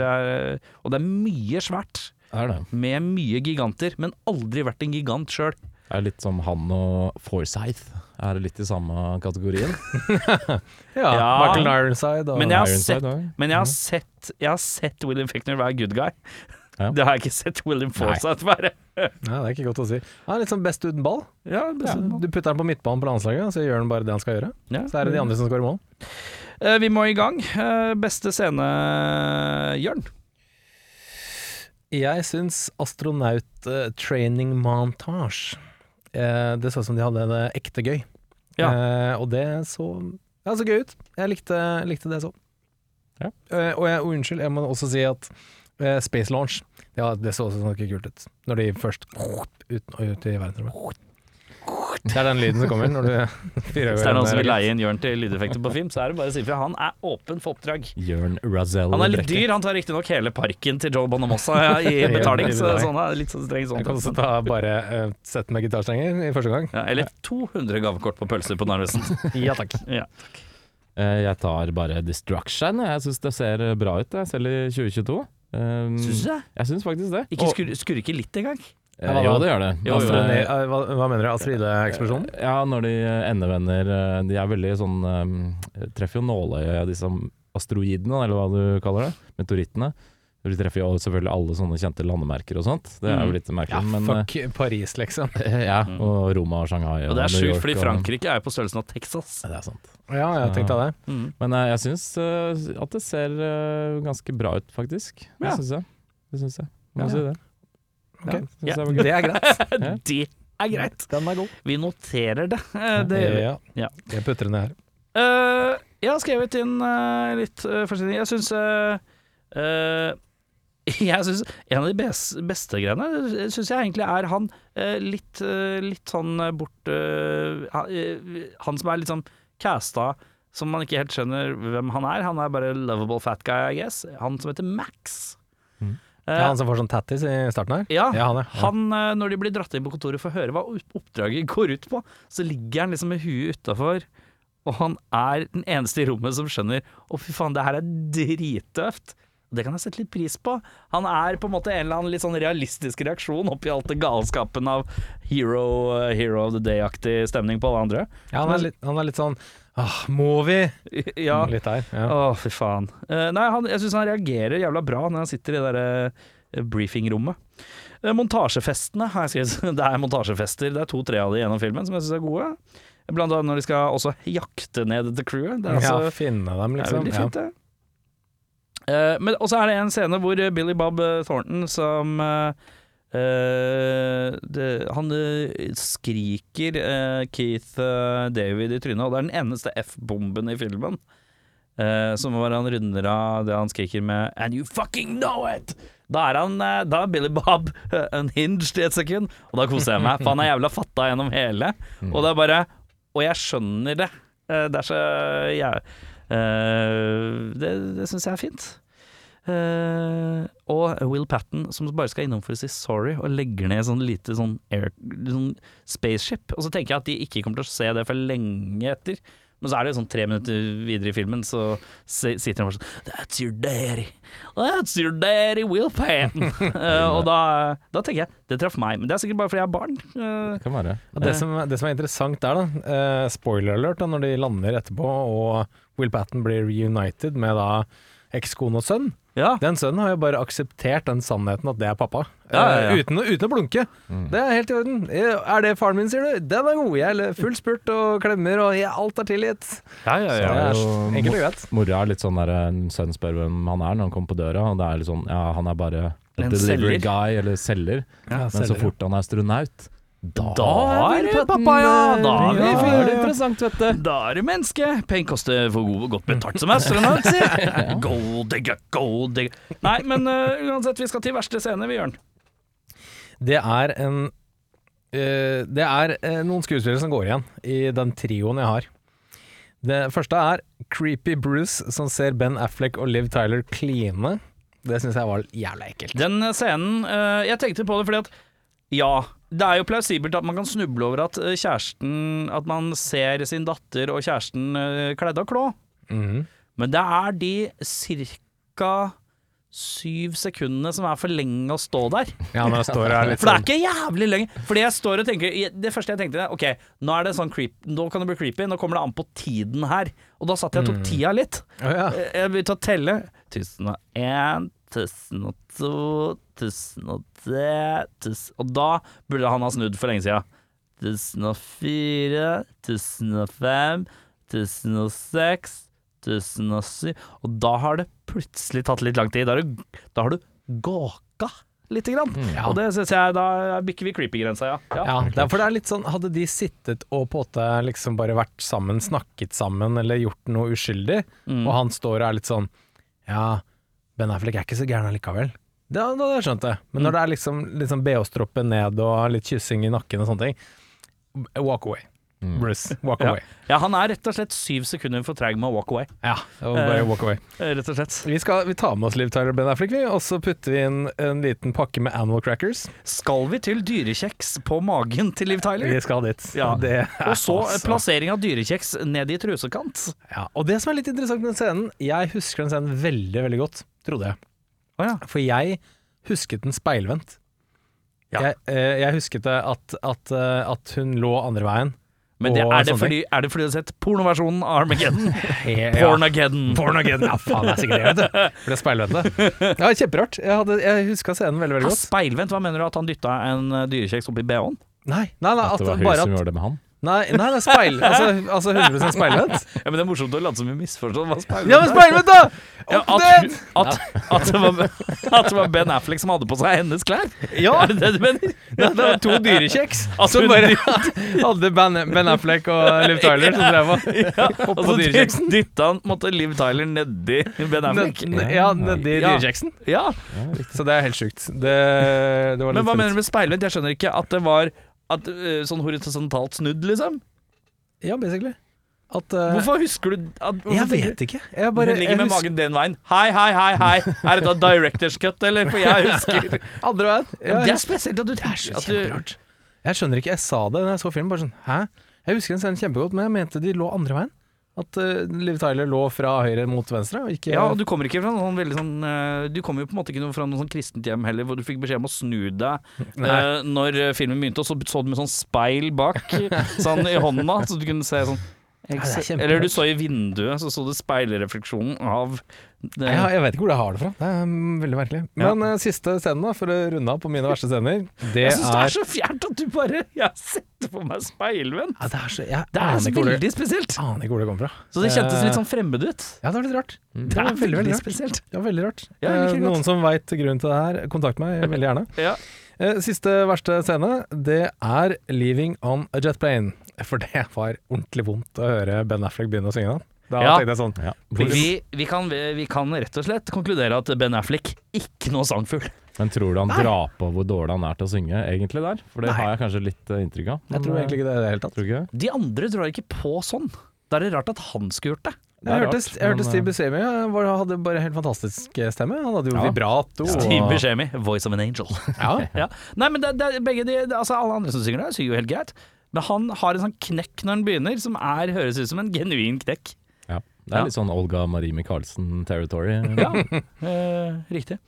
Speaker 1: eh, Og det er mye svært.
Speaker 3: Det er det.
Speaker 1: Med mye giganter, men aldri vært en gigant sjøl.
Speaker 3: Det er litt som han og Forsyth. Er det litt i samme kategorien?
Speaker 2: Ja,
Speaker 1: Ja.
Speaker 2: Michael Ironside og
Speaker 1: Men jeg har
Speaker 3: Ironside
Speaker 1: sett,
Speaker 3: også.
Speaker 1: men jeg har sett, jeg har sett William Fickner være good guy.
Speaker 3: Ja.
Speaker 1: Det har jeg ikke sett William Forsythe være.
Speaker 2: Nei, det er ikke godt å si. Han er litt sånn best uten ball.
Speaker 1: Ja,
Speaker 2: Ja, du putter han på midtbanen på landslaget, så gjør han bare det han skal gjøre.
Speaker 1: Ja.
Speaker 2: Så er det de andre som skårer mål.
Speaker 1: Eh, Vi må i gang. Eh, Beste scene, Jørn.
Speaker 2: Jeg syns astronaut-training montage eh, Det så ut som de hadde det ekte gøy. Eh, og det så ja, så gøy ut. Jeg likte, likte det så.
Speaker 3: Ja.
Speaker 2: Eh, og jeg, og unnskyld, jeg må også si at eh, Space Launch ja, Det så også ganske kult ut. Når de først ut, ut i verdensrommet. Det er den lyden som kommer når du fyrer
Speaker 1: Hvis det er noen som vil leie inn Jørn til lydeffekter på film, så er det bare å si ifra. Han er åpen for oppdrag.
Speaker 3: Jørn Razzello
Speaker 1: Han er litt
Speaker 3: Brekke.
Speaker 1: dyr, han tar riktignok hele parken til Joe Bonamossa ja, i betaling, så sånn er litt sånn streng
Speaker 2: Jeg eh, kan også
Speaker 1: sånn.
Speaker 2: ta bare eh, sett med gitarstrenger i første gang.
Speaker 1: Ja, eller 200 gavekort på pølser på Narvesen.
Speaker 2: Ja takk.
Speaker 1: Ja.
Speaker 3: Eh, Jeg tar bare Destruction. jeg. Jeg syns det ser eh, bra ut, jeg, selv i 2022. Um,
Speaker 1: Syns du det?
Speaker 3: Jeg syns faktisk det.
Speaker 1: Ikke
Speaker 3: Og-
Speaker 1: skur, skurke litt engang?
Speaker 3: Eh, jo, det gjør det.
Speaker 1: Jo, jo.
Speaker 3: Altså,
Speaker 2: Astrid- eh, hva, hva mener du? Astride-eksplosjonen?
Speaker 3: Ja, når de endevender eh, De er veldig sånn eh, Treffer jo nåløyet, disse asteroidene, eller hva du kaller det. Meteorittene. De treffer jo selvfølgelig alle sånne kjente landemerker og sånt. Det
Speaker 1: Mm.
Speaker 3: er jo litt merkelig, men
Speaker 2: Fuck Paris, liksom.
Speaker 3: eh, Ja, og Roma og Shanghai
Speaker 1: Og det er
Speaker 3: New
Speaker 1: sjukt,
Speaker 3: York
Speaker 1: fordi
Speaker 3: og-
Speaker 1: Frankrike er jo på størrelsen av Texas.
Speaker 3: Ja, Det er sant.
Speaker 2: Ja, jeg tenkte det.
Speaker 1: Mm.
Speaker 3: Men eh, jeg syns eh, at det ser eh, ganske bra ut, faktisk.
Speaker 1: Ja.
Speaker 3: Det syns jeg. Det syns jeg. Må
Speaker 2: Ja.
Speaker 3: si det.
Speaker 2: Ok.
Speaker 3: Ja, synes
Speaker 1: Ja.
Speaker 3: jeg var gøy.
Speaker 2: Det er greit.
Speaker 3: Ja.
Speaker 1: Mm. Det er greit.
Speaker 2: Den er god.
Speaker 1: Vi noterer det. Eh, det gjør vi. Ja.
Speaker 2: Jeg putter den her.
Speaker 1: Eh, jeg har skrevet inn eh, litt uh, forskjellig. Jeg syns Jeg syns en av de bes- beste greiene eh, Synes jeg egentlig er han eh, litt, eh, litt sånn eh, bort eh, ha- eh, Han som er litt sånn casta som man ikke helt skjønner hvem han er. Han er bare lovable fat guy, I guess. Han som heter Max. Eh,
Speaker 2: Ja, han som får sånn tattis i starten her?
Speaker 1: ja,
Speaker 2: Ja, han er. Ja.
Speaker 1: han, eh, når de blir dratt inn på kontoret for å høre hva opp- oppdraget går ut på, så ligger han liksom med huet utafor, og han er den eneste i rommet som skjønner Å, fy faen, det her er drittøft. Det kan jeg sette litt pris på. Han er på en måte en eller annen litt sånn realistisk reaksjon oppi alt det galskapen av hero, eh, hero of the day-aktig stemning på alle andre.
Speaker 2: Ja, han, er litt, han er litt sånn Åh, må vi?
Speaker 1: Ja,
Speaker 2: Litt der. Ja.
Speaker 1: Å, fy faen. Eh, nei, han, jeg syns han reagerer jævla bra når han sitter i det derre briefingrommet. Eh, montasjefestene har jeg skrevet. Det er montasjefester. Det er to-tre av de gjennom filmen som jeg syns er gode. Blant annet når de skal også jakte ned dette crewet. Det er, altså,
Speaker 2: ja, finne dem,
Speaker 1: det er
Speaker 2: liksom.
Speaker 1: veldig fint, det. Eh, men også er det en scene hvor eh, Billy Bob eh, Thornton som eh, eh, det, Han eh, skriker eh, Keith eh, David i trynet, og det er den eneste F-bomben i filmen. Eh, som var han runder av det han skriker med 'And you fucking know it!' Da er, han, eh, da er Billy Bob eh, unhinged i et sekund, og da koser jeg meg. For han er jævla fatta gjennom hele.
Speaker 2: Mm.
Speaker 1: Og det er bare Og jeg skjønner det. Eh, det er så jæ- eh, Det, det syns jeg er fint. Eh, og Will Patten som bare skal innom for å si sorry, og legger ned sånn lite sånn, air, sånn spaceship. Og så tenker jeg at de ikke kommer til å se det for lenge etter. Men så er det jo sånn tre minutter videre i filmen, så si- sitter han bare sånn That's your daddy. That's your daddy, Will Patten. Eh, og da, da tenker jeg Det traff meg. Men det er sikkert bare fordi jeg er barn. Eh,
Speaker 3: Det kan være.
Speaker 2: Og det, som, det som er interessant der, da eh, Spoiler alert da, når de lander etterpå, og Will Patten blir reunited med da ekskone og sønn.
Speaker 1: Ja.
Speaker 2: Den sønnen har jo bare akseptert den sannheten at det er pappa,
Speaker 1: Ja, ja, ja.
Speaker 2: Eh, Uten, å- uten å blunke. Det er helt i orden. Eh, Er det faren min, sier du? Den er god. Jeg er full spurt og klemmer, og jeg, alt er tilgitt.
Speaker 1: Ja, ja,
Speaker 2: Det
Speaker 1: ja.
Speaker 2: er
Speaker 3: jo-
Speaker 2: enkelt og greit.
Speaker 3: Mora er litt sånn der en Sønn spør hvem han er når han kommer på døra, og det er litt sånn Ja, han er bare a
Speaker 1: En
Speaker 3: delivery
Speaker 1: selger.
Speaker 3: guy, eller selger. Men så fort han er astronaut, da,
Speaker 1: Da er det pappa, ja. Da er vi
Speaker 3: ja,
Speaker 1: fyrer.
Speaker 3: det interessant, vet du.
Speaker 1: Da er det menneske. Penger koster for god, godt betalt som astronaut, si. Gold digger, gold digger. Nei, men øh, uansett, vi skal til verste scene, vi, Jørn.
Speaker 2: Det er en eh, Det er eh, noen skuespillere som går igjen i den trioen jeg har. Det første er Creepy Bruce som ser Ben Affleck og Liv Tyler kline. Det syns jeg var jævla ekkelt.
Speaker 1: Den scenen øh, Jeg tenkte på det fordi at Ja, det er jo plausibelt at man kan snuble over at øh, kjæresten At man ser sin datter og kjæresten øh, kledd av klå.
Speaker 2: Mhm.
Speaker 1: Men det er de cirka syv sekundene som er for lenge å stå der.
Speaker 2: Ja, når jeg står her litt
Speaker 1: For det er
Speaker 2: sånn
Speaker 1: ikke jævlig lenge. Fordi jeg står og tenker Det første jeg tenkte, OK, nå er det sånn creep, Nå kan det bli creepy. Nå kommer det an på tiden her. Og da satt jeg og
Speaker 2: Mm.
Speaker 1: tok tida litt.
Speaker 2: Å ja.
Speaker 1: Jeg Eh, jeg begynte å telle. 1001, 1002, 1003 1000 Og da burde han ha snudd for lenge siden. 1004, 1005, 1006, 1007 Og da har det plutselig tatt litt lang tid. Da har du, da har du gåka lite grann. Og det syns jeg Da bikker vi creepy-grensa, ja. ja.
Speaker 2: Mm, Ja, det er, for det er litt sånn Hadde de sittet og på en måte liksom bare vært sammen, snakket sammen eller gjort noe uskyldig,
Speaker 1: Mm.
Speaker 2: og han står og er litt sånn Ja, Ben Affleck er ikke så gæren allikevel. Da da hadde jeg skjønt det. Men
Speaker 1: Mm.
Speaker 2: når det er liksom, liksom BH-stroppe ned og litt kyssing i nakken og sånne ting Walk away. Bruce, walk
Speaker 1: Mm. Ja.
Speaker 2: away.
Speaker 1: ja, han er rett og slett syv sekunder for treg med å walk away.
Speaker 2: Ja, det var bare
Speaker 1: Eh.
Speaker 2: walk away.
Speaker 1: eh, Rett og slett.
Speaker 2: Vi, skal, vi tar med oss Liv Tyler og Ben Affleck, vi, og så putter vi inn en liten pakke med Animal Crackers.
Speaker 1: Skal vi til dyrekjeks på magen til Liv Tyler?
Speaker 2: Vi skal dit.
Speaker 1: Ja.
Speaker 2: Det er
Speaker 1: Og så eh,
Speaker 2: altså-
Speaker 1: plassering av dyrekjeks ned i trusekant.
Speaker 2: Ja, og det som er litt interessant med den scenen, jeg husker den scenen veldig, veldig godt, trodde jeg.
Speaker 1: Å ja.
Speaker 2: For jeg husket den speilvendt.
Speaker 1: Ja.
Speaker 2: Jeg, eh, jeg husket det at, at, eh, at hun lå andre veien.
Speaker 1: Men det,
Speaker 2: og
Speaker 1: er, det
Speaker 2: sånne ting.
Speaker 1: fordi, er det fordi du har sett pornoversjonen av Armageddon?
Speaker 2: He- ja.
Speaker 1: Pornageddon.
Speaker 2: Pornageddon. Ja, faen, det er sikkert det, vet du. For det er speilvendte. Ja, kjemperart. Jeg, hadde, jeg huska scenen veldig,
Speaker 1: Ja,
Speaker 2: veldig godt.
Speaker 1: Speilvendt, hva mener du? At han dytta en eh, dyrekjeks oppi bh-en?
Speaker 2: Nei, nei, nei,
Speaker 3: At
Speaker 2: at,
Speaker 3: det var hun
Speaker 2: bare
Speaker 3: som
Speaker 2: at
Speaker 3: gjorde det med han.
Speaker 2: Nei, nei, det er speil. Altså, altså 100 speilvendt.
Speaker 1: Ja, men det er morsomt å late som vi misforstår hva speilvendt
Speaker 2: Ja, men speilvendt, da!
Speaker 1: Ja,
Speaker 2: Opp
Speaker 1: at,
Speaker 2: ned!
Speaker 1: at, at, det var, at det var Ben Affleck som hadde på seg hennes klær?
Speaker 2: Ja.
Speaker 1: Er det det du mener?
Speaker 2: Det det var to dyrekjeks
Speaker 1: At
Speaker 2: som
Speaker 1: hun
Speaker 2: bare hadde Ben, ben Affleck og Liv Tyler som drev og hoppa
Speaker 1: Altså,
Speaker 2: på dyrekjeksen.
Speaker 1: dytta han måtte Liv Tyler nedi Ben Affleck?
Speaker 2: Ned- ned- Ja, nedi
Speaker 1: Ja.
Speaker 2: dyrekjeksen.
Speaker 1: Ja,
Speaker 2: Så det er helt sjukt. Det, det var
Speaker 1: Men
Speaker 2: litt
Speaker 1: hva
Speaker 2: sprøtt.
Speaker 1: mener du med speilvendt? Jeg skjønner ikke at det var at, eh, sånn horisontalt snudd, liksom.
Speaker 2: Ja, basically. At eh,
Speaker 1: Hvorfor husker du at, hvorfor
Speaker 2: Jeg
Speaker 1: tenker du-
Speaker 2: vet ikke. Jeg bare
Speaker 1: Hun ligger med
Speaker 2: jeg husker-
Speaker 1: magen den veien. Hei, hei, hei, hei. Er dette directors cut, eller? For jeg husker
Speaker 2: Andre veien. Jeg,
Speaker 1: Det er spesielt at du Det er så
Speaker 2: kjemperart. jeg skjønner ikke. Jeg sa det da jeg så filmen. Bare sånn Hæ? Jeg husker den scenen kjempegodt, men jeg mente de lå andre veien. At eh, Liv Tyler lå fra høyre mot venstre, og ikke
Speaker 1: Ja, og du kommer ikke fra noen veldig sånn eh, Du kommer jo på en måte ikke noe fra noe sånn kristent hjem heller, hvor du fikk beskjed om å snu deg eh, når eh, filmen begynte, og så så du med sånn speil bak, sånn i hånda, så du kunne se sånn
Speaker 2: det er kjemperart.
Speaker 1: Eller du så i vinduet, så så du speilrefleksjonen av eh, det.
Speaker 2: Ja, jeg vet ikke hvor jeg har det fra. Det er mm, veldig merkelig. Men eh, siste scenen, da, for å runde av på mine verste scener, det
Speaker 1: Jeg
Speaker 2: er,
Speaker 1: syns det er så fjernt at du bare Jeg setter på meg speilvenn.
Speaker 2: ja, det er så Jeg
Speaker 1: Det er
Speaker 2: aner ikke hvor det,
Speaker 1: veldig spesielt.
Speaker 2: aner ikke hvor det kommer fra.
Speaker 1: Så det kjentes litt sånn fremmed ut.
Speaker 2: Ja, det var litt rart. Det
Speaker 1: Det
Speaker 2: var
Speaker 1: er
Speaker 2: veldig, veldig rart.
Speaker 1: spesielt.
Speaker 2: Det var veldig rart.
Speaker 1: Ja, jeg liker det
Speaker 2: Eh,
Speaker 1: godt.
Speaker 2: Mm. Noen som veit grunnen til det her, kontakt meg veldig gjerne.
Speaker 1: Ja.
Speaker 2: Eh, Siste verste scene, det er 'Leaving on a Jet Plane'. For det var ordentlig vondt å høre Ben Affleck begynne å synge den. Da
Speaker 1: Ja.
Speaker 2: tenkte jeg sånn
Speaker 3: Ja.
Speaker 1: Vi, vi, kan, vi kan rett og slett konkludere at Ben Affleck ikke noe sangfugl.
Speaker 3: Men tror du han drar på hvor dårlig han er til å synge, egentlig, der? For det har jeg kanskje litt eh, inntrykk av.
Speaker 2: Jeg tror egentlig ikke det i det hele tatt.
Speaker 3: Tror du ikke det?
Speaker 1: De andre drar ikke på sånn. Da er det rart at han skulle gjort det.
Speaker 3: er
Speaker 2: Jeg hørte,
Speaker 3: rart,
Speaker 2: jeg hørte
Speaker 3: men,
Speaker 2: Steve Buscemi han var- hadde bare helt fantastisk eh, stemme. Han hadde jo
Speaker 3: Ja.
Speaker 2: vibrato. og-
Speaker 1: Steve Buscemi, 'Voice of an Angel'.
Speaker 2: Ja.
Speaker 1: Ja. Nei, men det, det, begge de, det- altså Alle andre som synger der, synger jo helt greit. Men han har en sånn knekk når han begynner, som er, høres ut som en genuin knekk.
Speaker 3: Ja. Det er litt sånn Olga Marie Michaelsen-territory.
Speaker 1: Ja, eh, riktig.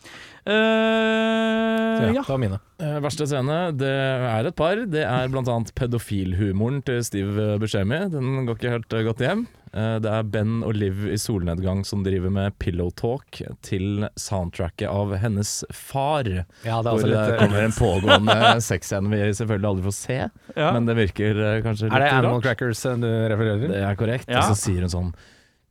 Speaker 1: Eh,
Speaker 2: Så ja,
Speaker 1: ja.
Speaker 2: det var mine.
Speaker 3: Eh, verste scene, det er et par. Det er blant annet pedofilhumoren til Steve Buscemi. Den går ikke helt eh, godt hjem. Eh, Det er Ben og Liv i solnedgang som driver med pillow talk til soundtracket av hennes far.
Speaker 2: Ja, det er
Speaker 3: Hvor
Speaker 2: også
Speaker 3: det
Speaker 2: litt eh,
Speaker 3: kommer en pågående sexscene vi selvfølgelig aldri får se,
Speaker 1: ja.
Speaker 3: men det virker eh, kanskje litt
Speaker 2: Er det Animal
Speaker 3: rart.
Speaker 2: Crackers eh, du refererer til?
Speaker 3: Det er korrekt.
Speaker 1: Ja.
Speaker 3: Og så sier hun sånn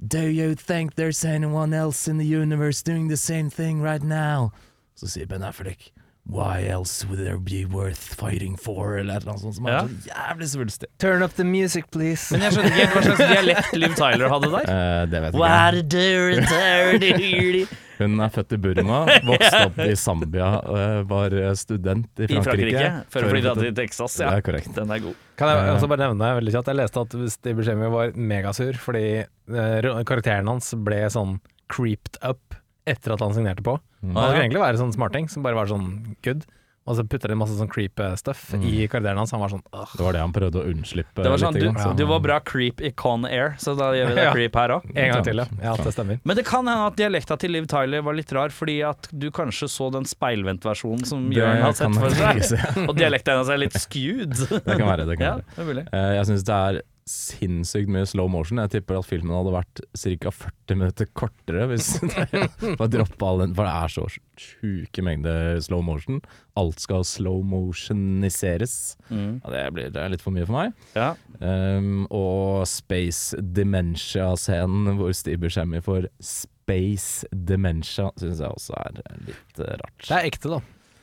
Speaker 3: Do you think there's anyone else in the universe doing the same thing right now? Så sier Ben Affleck Why else would there be worth fighting for? Eller et eller annet sånt som
Speaker 1: Ja.
Speaker 3: er så jævlig svulstig.
Speaker 2: Turn up the music, please.
Speaker 1: Men jeg skjønner ikke helt hva slags dialekt Liv Tyler hadde der.
Speaker 3: Eh, det vet jeg ikke.
Speaker 1: Where do you turn?
Speaker 3: Hun er født i Burma, vokste opp i Zambia, eh, var student i
Speaker 1: I
Speaker 3: Frankrike.
Speaker 1: Frankrike, før hun flytta til
Speaker 3: flyttet-
Speaker 1: Texas.
Speaker 3: Det
Speaker 1: Ja.
Speaker 3: er korrekt.
Speaker 1: Den er god.
Speaker 2: Kan jeg også bare nevne veldig kjapt Jeg leste at Steve Buscemi var megasur fordi eh, ro- karakteren hans ble sånn creeped up etter at han signerte på. Han
Speaker 1: Ah,
Speaker 2: skulle
Speaker 1: ja.
Speaker 2: egentlig være sånn smarting som bare var sånn good, og så putta de masse sånn creep eh, stuff i karakteren hans. Han var sånn «Åh,
Speaker 3: Det var det han prøvde å unnslippe.
Speaker 1: Det var sånn,
Speaker 3: litt,
Speaker 1: du,
Speaker 3: grann.
Speaker 1: du var bra creep i Con Air, så da gjør vi deg
Speaker 2: Ja.
Speaker 1: creep her òg.
Speaker 2: En gang til, ja. Ja, det stemmer.
Speaker 1: Men det kan hende at dialekta til Liv Tyler var litt rar, fordi at du kanskje så den speilvendtversjonen som
Speaker 3: Det
Speaker 1: Jørn har sett
Speaker 3: kan
Speaker 1: for
Speaker 3: jeg
Speaker 1: seg, og dialekta hennes er litt skewed.
Speaker 3: Det kan være, det kan
Speaker 1: Ja,
Speaker 3: være.
Speaker 1: det er mulig.
Speaker 3: Eh, Jeg syns det er sinnssykt mye slow motion. Jeg tipper at filmen hadde vært ca. 40 minutter kortere hvis det var droppa all den For det er så sjuke mengder slow motion. Alt skal slow motioniseres.
Speaker 1: Mm.
Speaker 3: Ja, det blir det er litt for mye for meg.
Speaker 1: Ja.
Speaker 3: Um, og Space Dementia-scenen hvor Steve Buscemi får Space Dementia, syns jeg også er litt eh, rart.
Speaker 2: Det er ekte, da.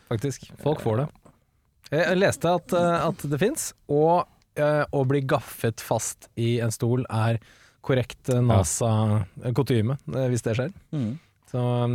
Speaker 2: Faktisk. Folk får det. Jeg leste at, eh, at det fins, og eh, å bli gaffet fast i en stol er korrekt eh, NASA-kutyme, eh, hvis det skjer.
Speaker 1: Mm.
Speaker 2: Så um,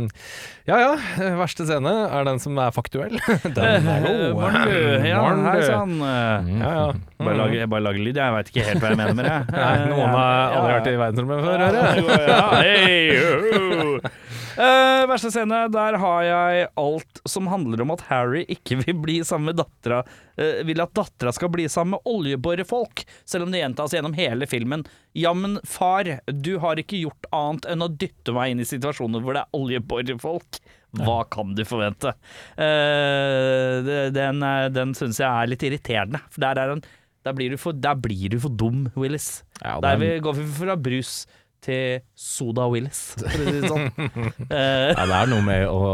Speaker 2: ja ja, verste scene er den som er faktuell. Den er
Speaker 1: Eh,
Speaker 2: god.
Speaker 1: Morn, du. Ja,
Speaker 2: Morn, du.
Speaker 1: hei sann. Mm.
Speaker 2: Ja, ja.
Speaker 1: Bare lager, jeg bare lager lyd, jeg veit ikke helt hva jeg mener med det.
Speaker 2: Mm. Nei, noen har aldri vært i verdensrommet før, hører jeg.
Speaker 1: Ja, hei, ho. Eh, verste scene, der har jeg alt som handler om at Harry ikke vil bli sammen med dattera eh, Vil at dattera skal bli sammen med oljeborefolk, selv om det gjentas gjennom hele filmen. Jammen, far, du har ikke gjort annet enn å dytte meg inn i situasjoner hvor det er oljeborefolk. Hva kan du forvente? Eh, det- den eh, den syns jeg er litt irriterende, for der, er en, der, blir du for, der blir du for dum, Willis.
Speaker 3: Ja, det
Speaker 1: Der
Speaker 3: er-
Speaker 1: vi går vi fra brus til Soda Willis, for å si det sånn. Eh,
Speaker 3: ja, det er noe med å